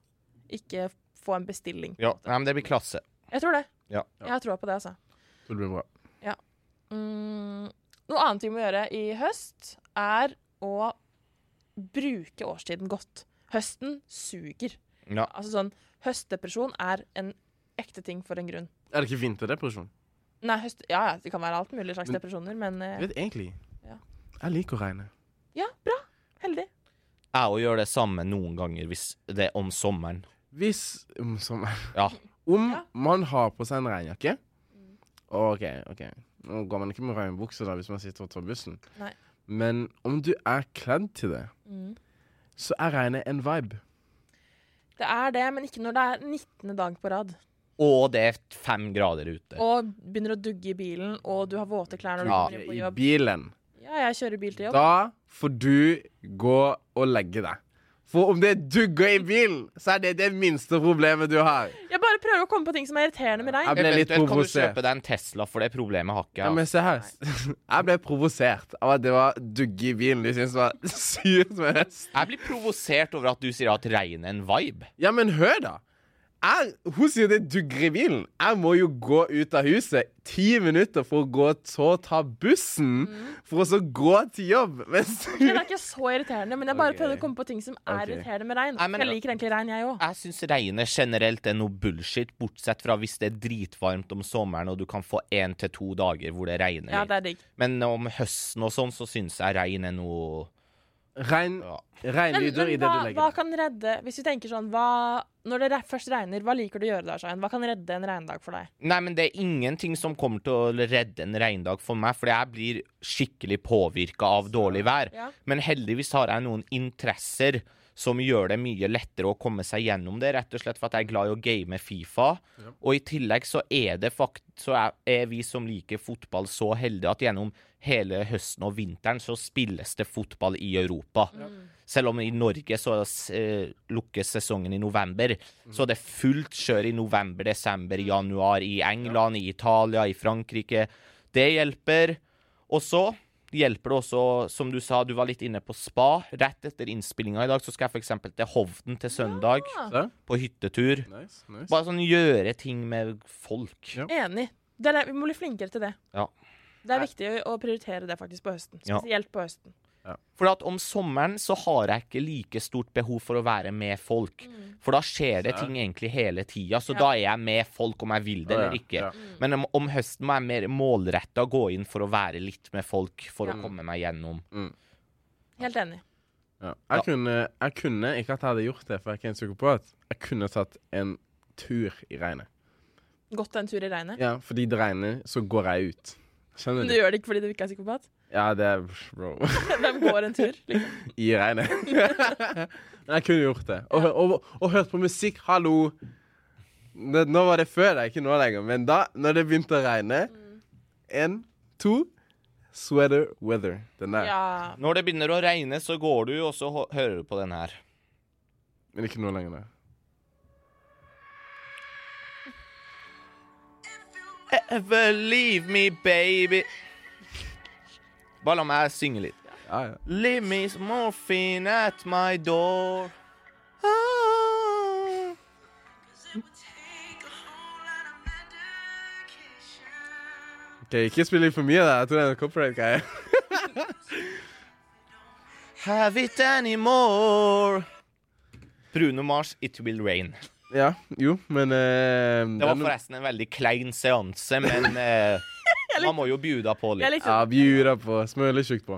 Speaker 1: ikke få en bestilling.
Speaker 2: Ja, nei, men det blir klasse.
Speaker 1: Jeg tror det.
Speaker 2: Ja.
Speaker 1: Jeg har troa på det, altså.
Speaker 3: Så det blir bra.
Speaker 1: Mm, noe annet vi må gjøre i høst, er å bruke årstiden godt. Høsten suger.
Speaker 2: Ja.
Speaker 1: Altså sånn, Høstdepresjon er en ekte ting for en grunn.
Speaker 3: Er det ikke vinterdepresjon?
Speaker 1: Nei, høst, ja, ja, det kan være alt mulig slags
Speaker 3: Men-
Speaker 1: depresjoner, men eh,
Speaker 3: Jeg vet egentlig.
Speaker 1: Ja.
Speaker 3: Jeg liker å regne.
Speaker 1: ja, bra. Heldig.
Speaker 2: Jeg òg gjør det samme noen ganger hvis det er om sommeren.
Speaker 3: Hvis om, som,
Speaker 2: Ja.
Speaker 3: om
Speaker 1: Ja.
Speaker 3: man har på seg en regnjakke OK, OK. Nå går man ikke med regnbukse da hvis man sitter og tar bussen.
Speaker 1: Nei.
Speaker 3: Men om du er kledd til det,
Speaker 1: Mm.
Speaker 3: så er regnet en vibe.
Speaker 1: Det er det, men ikke når det er 19. dag på rad.
Speaker 2: Og det er fem grader ute.
Speaker 1: Og begynner å dugge i bilen, og du har våte klær når du
Speaker 2: Ja.
Speaker 1: kommer inn på
Speaker 3: I
Speaker 1: jobb.
Speaker 3: bilen.
Speaker 1: Ja, jeg kjører bil til jobb.
Speaker 3: Da får du gå og legge deg. For om det dugger i bilen, så er det det minste problemet du har.
Speaker 1: Jeg bare prøver å komme på ting som er irriterende med deg.
Speaker 3: Jeg ble
Speaker 2: Eventuelt
Speaker 3: litt
Speaker 2: kan du
Speaker 3: provosert.
Speaker 2: kjøpe deg en Tesla, for det problemet har ikke
Speaker 3: Ja, men
Speaker 2: jeg. altså.
Speaker 3: se her. Jeg ble provosert av at det var dugge i bilen. Du syntes det var sykt med hest.
Speaker 2: Jeg blir provosert over at du sier at regn er en vibe.
Speaker 3: Ja, men hør, da. Jeg, hun sier det dugger i bilen. Jeg må jo gå ut av huset ti minutter for å gå så ta bussen,
Speaker 1: Mm.
Speaker 3: for å så gå til jobb. Mens du
Speaker 1: Den er ikke så irriterende, men jeg bare
Speaker 3: Ok.
Speaker 1: prøvde å komme på ting som er
Speaker 3: Ok.
Speaker 1: irriterende med regn.
Speaker 2: Nei, men-
Speaker 1: For jeg liker egentlig regn, jeg òg.
Speaker 2: Jeg syns regnet generelt er noe bullshit, bortsett fra hvis det er dritvarmt om sommeren og du kan få én til to dager hvor det regner.
Speaker 1: Ja,
Speaker 2: litt.
Speaker 1: det er digg.
Speaker 2: Men om høsten og sånn, så syns jeg regn er noe
Speaker 3: Regn,
Speaker 2: Ja.
Speaker 3: regnlyder i det
Speaker 1: hva,
Speaker 3: du legger
Speaker 1: hva
Speaker 3: deg.
Speaker 1: kan redde Hvis vi tenker sånn hva, Når det re- først regner, hva liker du å gjøre da, Shayan? Hva kan redde en regndag for deg?
Speaker 2: Nei, men det er ingenting som kommer til å redde en regndag for meg, for jeg blir skikkelig påvirka av dårlig vær.
Speaker 1: Ja.
Speaker 2: Men heldigvis har jeg noen interesser som gjør det mye lettere å komme seg gjennom det, rett og slett for at jeg er glad i å game Fifa. Og i tillegg så er det fakt så er, er vi som liker fotball så heldige at gjennom hele høsten og vinteren så spilles det fotball i Europa. Selv om i Norge så eh, lukkes sesongen i november, så det er fullt kjør i november, desember, januar i England, i Italia, i Frankrike. Det hjelper. Og så hjelper det også, som du sa, du var litt inne på spa. Rett etter innspillinga i dag så skal jeg f.eks. til Hovden til søndag,
Speaker 1: Ah,
Speaker 3: Se.
Speaker 2: på hyttetur.
Speaker 3: Nice, nice.
Speaker 2: Bare sånn gjøre ting med folk.
Speaker 3: Ja.
Speaker 1: Enig. Det er, det- vi må bli flinkere til det.
Speaker 2: Ja.
Speaker 1: Det er viktig å å prioritere det faktisk på høsten.
Speaker 2: Ja.
Speaker 1: Spesielt på høsten.
Speaker 2: For at om sommeren så har jeg ikke like stort behov for å være med folk. For da skjer det ting egentlig hele tida, så
Speaker 1: Mm. Ja.
Speaker 2: da er jeg med folk om jeg vil det
Speaker 3: Å, ja,
Speaker 2: eller ikke.
Speaker 3: ja.
Speaker 2: Men om, om høsten må jeg mer målretta gå inn for å være litt med folk for
Speaker 1: Ja.
Speaker 2: å komme meg gjennom.
Speaker 1: Helt enig.
Speaker 3: Ja. Jeg, Kunne, jeg kunne, ikke at jeg hadde gjort det, for jeg er ikke en psykopat, jeg kunne tatt en tur i regnet.
Speaker 1: Gått en tur i regnet.
Speaker 3: Ja, fordi det regner, så går jeg ut. Skjønner
Speaker 1: Men du
Speaker 3: du?
Speaker 1: gjør det ikke fordi du ikke er psykopat?
Speaker 3: Ja, det er bro.
Speaker 1: Hvem går en tur? Liksom?
Speaker 3: I regnet. Men jeg kunne gjort det. Og, og, og hørt på musikk. Hallo! Nå nå var det før deg, ikke nå lenger. Men da, når det begynte å regne
Speaker 2: Mm.
Speaker 3: En, to Sweater weather. Den der.
Speaker 1: Ja.
Speaker 2: Når det begynner å regne, så går du, og så hå- hører du på den her.
Speaker 3: Men ikke nå lenger. Der.
Speaker 2: Ever leave me, baby. Bare la meg synge litt.
Speaker 3: Ja, Ah, ja.
Speaker 2: Leave me some morphine at my door. Ah.
Speaker 3: OK, ikke spill litt for mye. Da. Jeg tror det er en copyright-greie.
Speaker 2: Have it anymore. Bruno Mars, It Will Rain.
Speaker 3: Ja, jo, men eh,
Speaker 2: Det var
Speaker 3: den-
Speaker 2: forresten en veldig klein seanse, men eh, man må jo bjuda på
Speaker 1: Jeg
Speaker 2: litt.
Speaker 1: likte
Speaker 3: Ja,
Speaker 1: det.
Speaker 3: bjuda på. Smører litt tjukt på.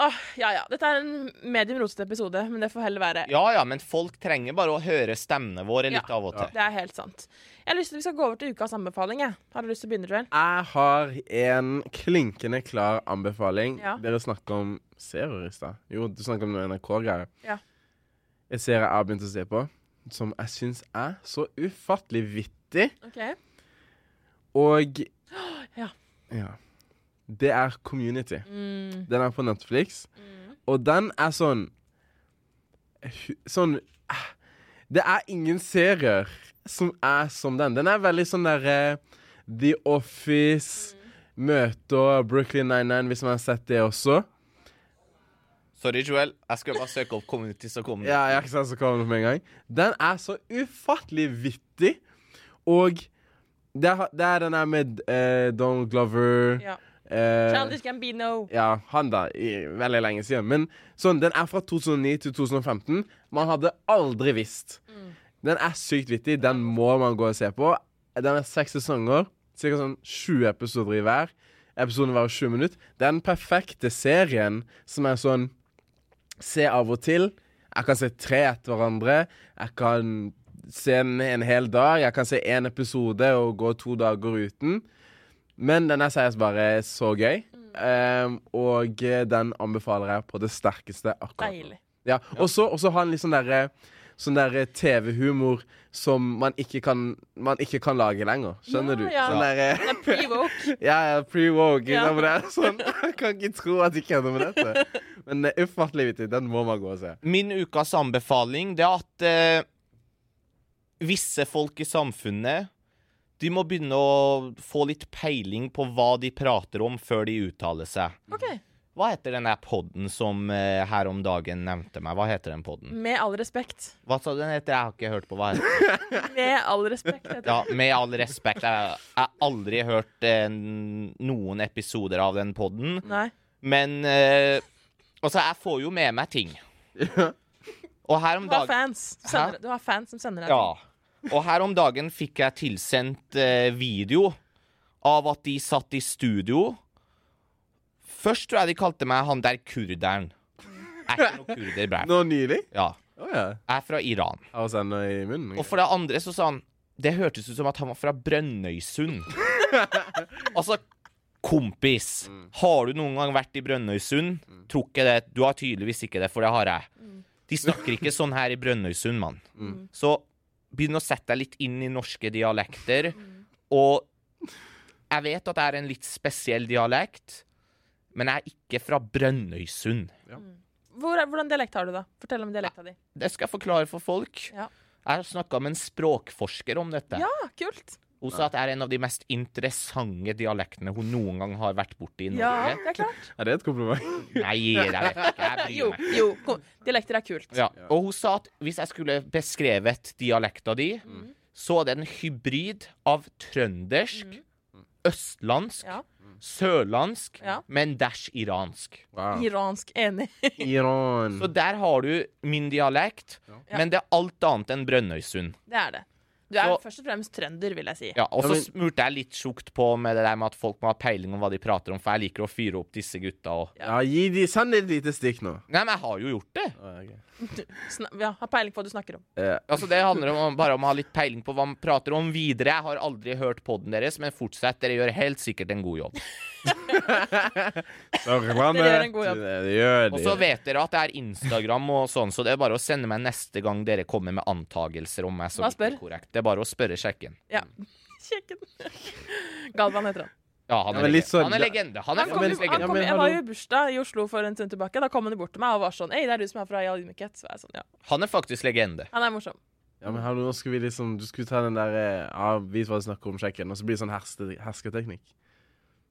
Speaker 1: Åh, ja, ja. Dette er en medium rotete episode, men det får heller være.
Speaker 2: Ja ja, men folk trenger bare å høre stemmene våre litt
Speaker 1: Ja.
Speaker 2: av og til.
Speaker 1: Det er helt sant. Jeg har lyst til Vi skal gå over til ukas anbefaling. Jeg. Har du lyst til å begynne, Joel?
Speaker 3: Jeg har en klinkende klar anbefaling.
Speaker 1: Ja.
Speaker 3: Dere snakka om serier i stad. Jo, du snakka om noe NRK-greier.
Speaker 1: Ja.
Speaker 3: En serie jeg har begynt å se på, som jeg syns er så ufattelig vittig,
Speaker 1: Ok.
Speaker 3: og
Speaker 1: Ja.
Speaker 3: ja. Det er Community.
Speaker 1: Mm.
Speaker 3: Den er på Netflix, og den er sånn hu- Sånn ah, Det er ingen serier som er som den. Den er veldig sånn derre The Office, Møte og Brooklyn 99, hvis man har sett det også.
Speaker 2: Sorry, Joel. Jeg skulle bare søke opp Community, så kom det.
Speaker 3: Ja, jeg har ikke sett så kommer det opp med en gang. Den er så ufattelig vittig, og det er, det er den der med eh, Donald Glover
Speaker 1: Ja.
Speaker 3: eh,
Speaker 1: Childish Gambino.
Speaker 3: Ja, han da, i veldig lenge siden. Men sånn, den er fra 2009 til 2015. Man hadde aldri visst. Den er sykt vittig. Den må man gå og se på. Den er seks sesonger. Cirka sånn 20 episoder i hver. Episoden varer 20 minutter. Det er den perfekte serien som er sånn Se av og til. Jeg kan se tre etter hverandre. Jeg kan se en, en hel dag. Jeg kan se én episode og gå to dager uten. Men den er seriøst bare så gøy. Ehm, og eh, den anbefaler jeg på det sterkeste akkurat nå.
Speaker 1: Deilig.
Speaker 3: Ja. Og så og så har han litt sånn derre sånn derre TV-humor som man ikke kan Man ikke kan lage lenger. Skjønner
Speaker 1: Ja,
Speaker 3: du?
Speaker 1: ja.
Speaker 3: Sånn derre
Speaker 1: Det er pre-woke.
Speaker 3: Ja, ja, pre-woke. ikke
Speaker 1: Ja.
Speaker 3: sant, men det er Sånn. Jeg kan ikke tro at de kødder med dette. Men det er ufattelig vittig. Den må man gå og se.
Speaker 2: Min ukas anbefaling det er at eh, visse folk i samfunnet de må begynne å få litt peiling på hva de prater om, før de uttaler seg.
Speaker 1: OK.
Speaker 2: Hva heter den der podden som eh, her om dagen nevnte meg? Hva heter den podden?
Speaker 1: Med all respekt.
Speaker 2: Hva sa den heter? Jeg har ikke hørt på hva heter. den.
Speaker 1: Med all respekt. heter det.
Speaker 2: Ja, Med all respekt, jeg jeg har aldri hørt eh, noen episoder av den podden.
Speaker 1: Nei.
Speaker 2: Men eh, Altså, jeg får jo med meg ting. Og her om
Speaker 1: Du har
Speaker 2: dagen
Speaker 1: fans. Sender, du har fans som sender deg
Speaker 2: Ja. Og her om dagen fikk jeg tilsendt eh, video av at de satt i studio. Først tror jeg de kalte meg han der kurderen. Jeg er ikke noe kurder. bra.
Speaker 3: Nå nylig?
Speaker 2: Ja.
Speaker 3: Å ja.
Speaker 2: Jeg er fra Iran.
Speaker 3: Har vi ennå i munnen?
Speaker 2: Og for det andre så sa han Det hørtes ut som at han var fra Brønnøysund. altså, kompis, har du noen gang vært i Brønnøysund? Tror ikke det. Du har tydeligvis ikke det, for det har jeg. De snakker ikke sånn her i Brønnøysund, mann. Så begynn å sette deg litt inn i norske dialekter. Og jeg vet at det er en litt spesiell dialekt, men jeg er ikke fra Brønnøysund.
Speaker 1: Hvor, er- hvordan dialekt har du, da? Fortell om dialekta di.
Speaker 2: Det skal jeg forklare for folk.
Speaker 1: Ja.
Speaker 2: Jeg har snakka med en språkforsker om dette.
Speaker 1: Ja, kult.
Speaker 2: Hun sa at det er en av de mest interessante dialektene hun noen gang har vært borti i
Speaker 1: Ja,
Speaker 2: Norge.
Speaker 1: det er klart.
Speaker 3: Er det et kompliment?
Speaker 2: Nei, jeg vet ikke. Jeg bryr
Speaker 1: Jo,
Speaker 2: meg.
Speaker 1: jo. Kom. Dialekter er kult.
Speaker 2: Ja. Og hun sa at hvis jeg skulle beskrevet dialekta di,
Speaker 1: Mm.
Speaker 2: så er det en hybrid av trøndersk, østlandsk,
Speaker 1: Mm. Ja.
Speaker 2: sørlandsk,
Speaker 1: Ja.
Speaker 2: men dash iransk.
Speaker 3: Wow.
Speaker 1: Iransk enig.
Speaker 3: Iran.
Speaker 2: Så der har du min dialekt,
Speaker 1: Ja.
Speaker 2: men det er alt annet enn Brønnøysund.
Speaker 1: Det er det. Du er
Speaker 2: Så-
Speaker 1: først og fremst trønder, vil jeg si.
Speaker 2: Ja, og
Speaker 3: Ja,
Speaker 2: så
Speaker 3: men-
Speaker 2: smurte jeg litt tjukt på med det der med at folk må ha peiling om hva de prater om, for jeg liker å fyre opp disse gutta og
Speaker 3: Ja, gi de Send et lite stikk nå.
Speaker 2: Nei, men jeg har jo gjort det.
Speaker 3: Å, ok.
Speaker 1: Sna ja, har peiling på hva du snakker om.
Speaker 3: Eh,
Speaker 2: Altså Det handler om, bare om å ha litt peiling på hva man prater om videre. Jeg har aldri hørt podden deres, men fortsett. Dere gjør helt sikkert en god jobb.
Speaker 3: så reklame.
Speaker 1: Dere gjør en god jobb.
Speaker 3: Det, det gjør
Speaker 2: Og
Speaker 3: de.
Speaker 2: så vet dere at det er Instagram og sånn, så det er bare å sende meg neste gang dere kommer med antagelser om meg som
Speaker 1: Bare
Speaker 2: ikke er
Speaker 1: spør.
Speaker 2: korrekt. Det er bare å spørre sjekken.
Speaker 1: Ja. Kjekken. Galvan heter han.
Speaker 2: Ja, han
Speaker 3: Ja,
Speaker 2: er,
Speaker 3: men litt
Speaker 2: legende.
Speaker 3: sånn-
Speaker 2: han er legende. Han
Speaker 1: Han
Speaker 2: er
Speaker 1: kom, jo-
Speaker 2: faktisk
Speaker 1: han
Speaker 2: legende.
Speaker 1: kom,
Speaker 3: men
Speaker 1: jeg var
Speaker 3: hallo.
Speaker 1: jo i bursdag i Oslo for en stund tilbake. Da kom han bort til meg og var sånn Ei, det er du som er fra Jarl Ydmykhet. Så var jeg sånn, ja.
Speaker 2: Han er faktisk legende.
Speaker 1: Han er morsom.
Speaker 3: Ja, men hallo, nå skal vi liksom Du skulle ta den der eh, Ja, vit hva du snakker om, sjekken. Og så blir det sånn herste, hersketeknikk.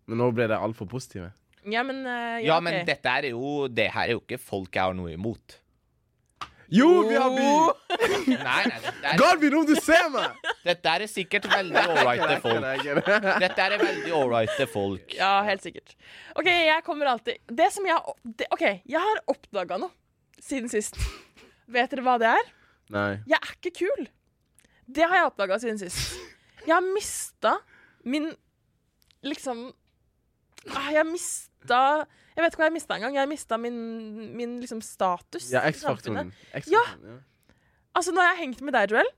Speaker 3: Men nå ble det altfor positive.
Speaker 1: Ja, men eh,
Speaker 2: Ja,
Speaker 1: ok.
Speaker 2: men dette er jo Det her er jo ikke folk jeg har noe imot.
Speaker 3: Jo,
Speaker 1: Oh,
Speaker 3: vi har by!
Speaker 2: Oh. Nei, nei, dette er,
Speaker 3: Galvin, om du ser meg!
Speaker 2: dette er sikkert veldig ålreite folk. Dette er veldig ålreite folk.
Speaker 1: Ja, helt sikkert. OK, jeg kommer alltid Det som jeg har- det, OK, jeg har oppdaga noe siden sist. Vet dere hva det er?
Speaker 3: Nei.
Speaker 1: Jeg er ikke kul. Det har jeg oppdaga siden sist. Jeg har mista min liksom ah, Jeg mista Jeg vet ikke hva jeg mista engang. Jeg mista min, min liksom status
Speaker 3: Ja,
Speaker 1: i
Speaker 3: X-faktoren.
Speaker 1: samfunnet. Altså, når jeg har hengt med deg, Joel,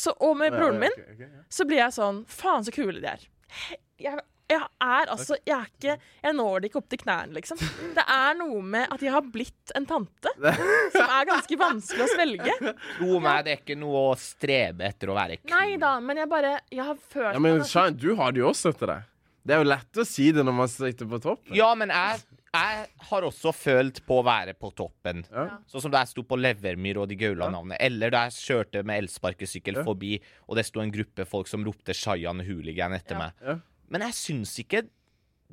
Speaker 1: så, og med broren min, så blir jeg sånn Faen, så kule de er. He- Jeg, jeg er altså Jeg er ikke Jeg når det ikke opp til knærne, liksom. Det er noe med at jeg har blitt en tante som er ganske vanskelig å svelge.
Speaker 2: Tro meg, det er ikke noe å strebe etter å være kul.
Speaker 1: Nei da, men jeg bare Jeg har følt
Speaker 3: Ja, men
Speaker 1: meg-
Speaker 3: Shine, du har det jo også etter deg. Det er jo lett å si det når man sitter på toppen.
Speaker 2: Ja, men jeg, jeg har også følt på å være på toppen.
Speaker 3: Ja.
Speaker 2: Sånn som da jeg sto på Levermyr og de Gaula-navnet. Eller da jeg kjørte med elsparkesykkel forbi, og det sto en gruppe folk som ropte 'Shayan Hooligan' etter
Speaker 1: Ja.
Speaker 2: meg.
Speaker 3: Ja.
Speaker 2: Men jeg syns ikke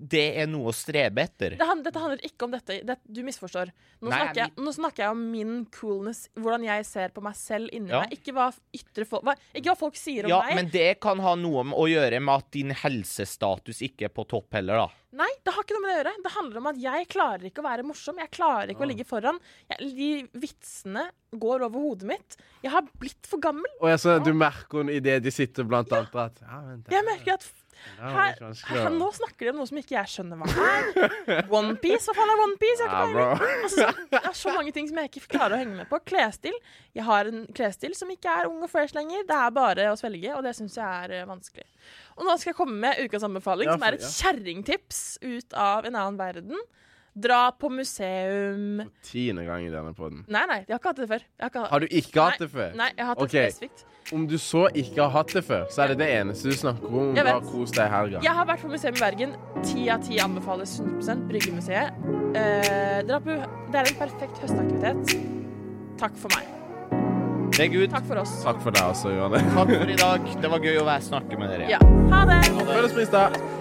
Speaker 2: det er noe å strebe etter.
Speaker 1: det han, dette handler ikke om dette. Det, du misforstår. Nå,
Speaker 2: Nei,
Speaker 1: snakker jeg,
Speaker 2: jeg-
Speaker 1: nå snakker jeg om min coolness, hvordan jeg ser på meg selv inni
Speaker 2: Ja.
Speaker 1: meg. Ikke hva, ytre folk, hva, ikke hva folk sier om
Speaker 2: Ja,
Speaker 1: meg.
Speaker 2: men det kan ha noe med å gjøre med at din helsestatus ikke er på topp heller, da.
Speaker 1: Nei, det har ikke noe med det å gjøre. Det handler om at jeg klarer ikke å være morsom. Jeg klarer ikke å
Speaker 2: Ah.
Speaker 1: ligge foran. Jeg, de vitsene går over hodet mitt. Jeg har blitt for gammel.
Speaker 3: Og jeg sånn at du merker henne idet de sitter blant annet at Ja, vent
Speaker 1: Jeg merker at f- her,
Speaker 3: ikke vanskelig,
Speaker 1: her,
Speaker 3: da.
Speaker 1: Nå snakker de om noe som ikke jeg skjønner hva er. Onepiece? Hva faen er Onepiece?
Speaker 3: Ja, bra.
Speaker 1: Altså, så- det er så mange ting som jeg ikke klarer å henge med på. Klesstil. Jeg har en klesstil som ikke er ung og fresh lenger. Det er bare å svelge, og det syns jeg er eh, vanskelig. Og nå skal jeg komme med ukas anbefaling,
Speaker 3: Ja,
Speaker 1: som er
Speaker 3: for-
Speaker 1: et
Speaker 3: ja.
Speaker 1: kjerringtips ut av en annen verden. Dra på museum
Speaker 3: Tiende gang i denne podden
Speaker 1: Nei, nei, jeg har ikke hatt det før. Jeg har ikke hatt-
Speaker 3: Har du ikke hatt det før?
Speaker 1: Nei, jeg har hatt det
Speaker 3: Ok.
Speaker 1: spesifikt.
Speaker 3: Om du så ikke har hatt det før, så er det det eneste du snakker om.
Speaker 1: Jeg
Speaker 3: Bare
Speaker 1: vet.
Speaker 3: kos deg i helga.
Speaker 1: Jeg har vært på museum i Bergen. Ti av ti anbefales 100 Bryggemuseet. Eh, dra på, det er en perfekt høstaktivitet. Takk for meg.
Speaker 2: Det er good.
Speaker 1: Takk for oss.
Speaker 3: Takk for deg også, altså, Johanne.
Speaker 2: Takk for i dag. Det var gøy å være snakke med dere.
Speaker 1: Ja. Ha det!
Speaker 3: Følg oss på Insta.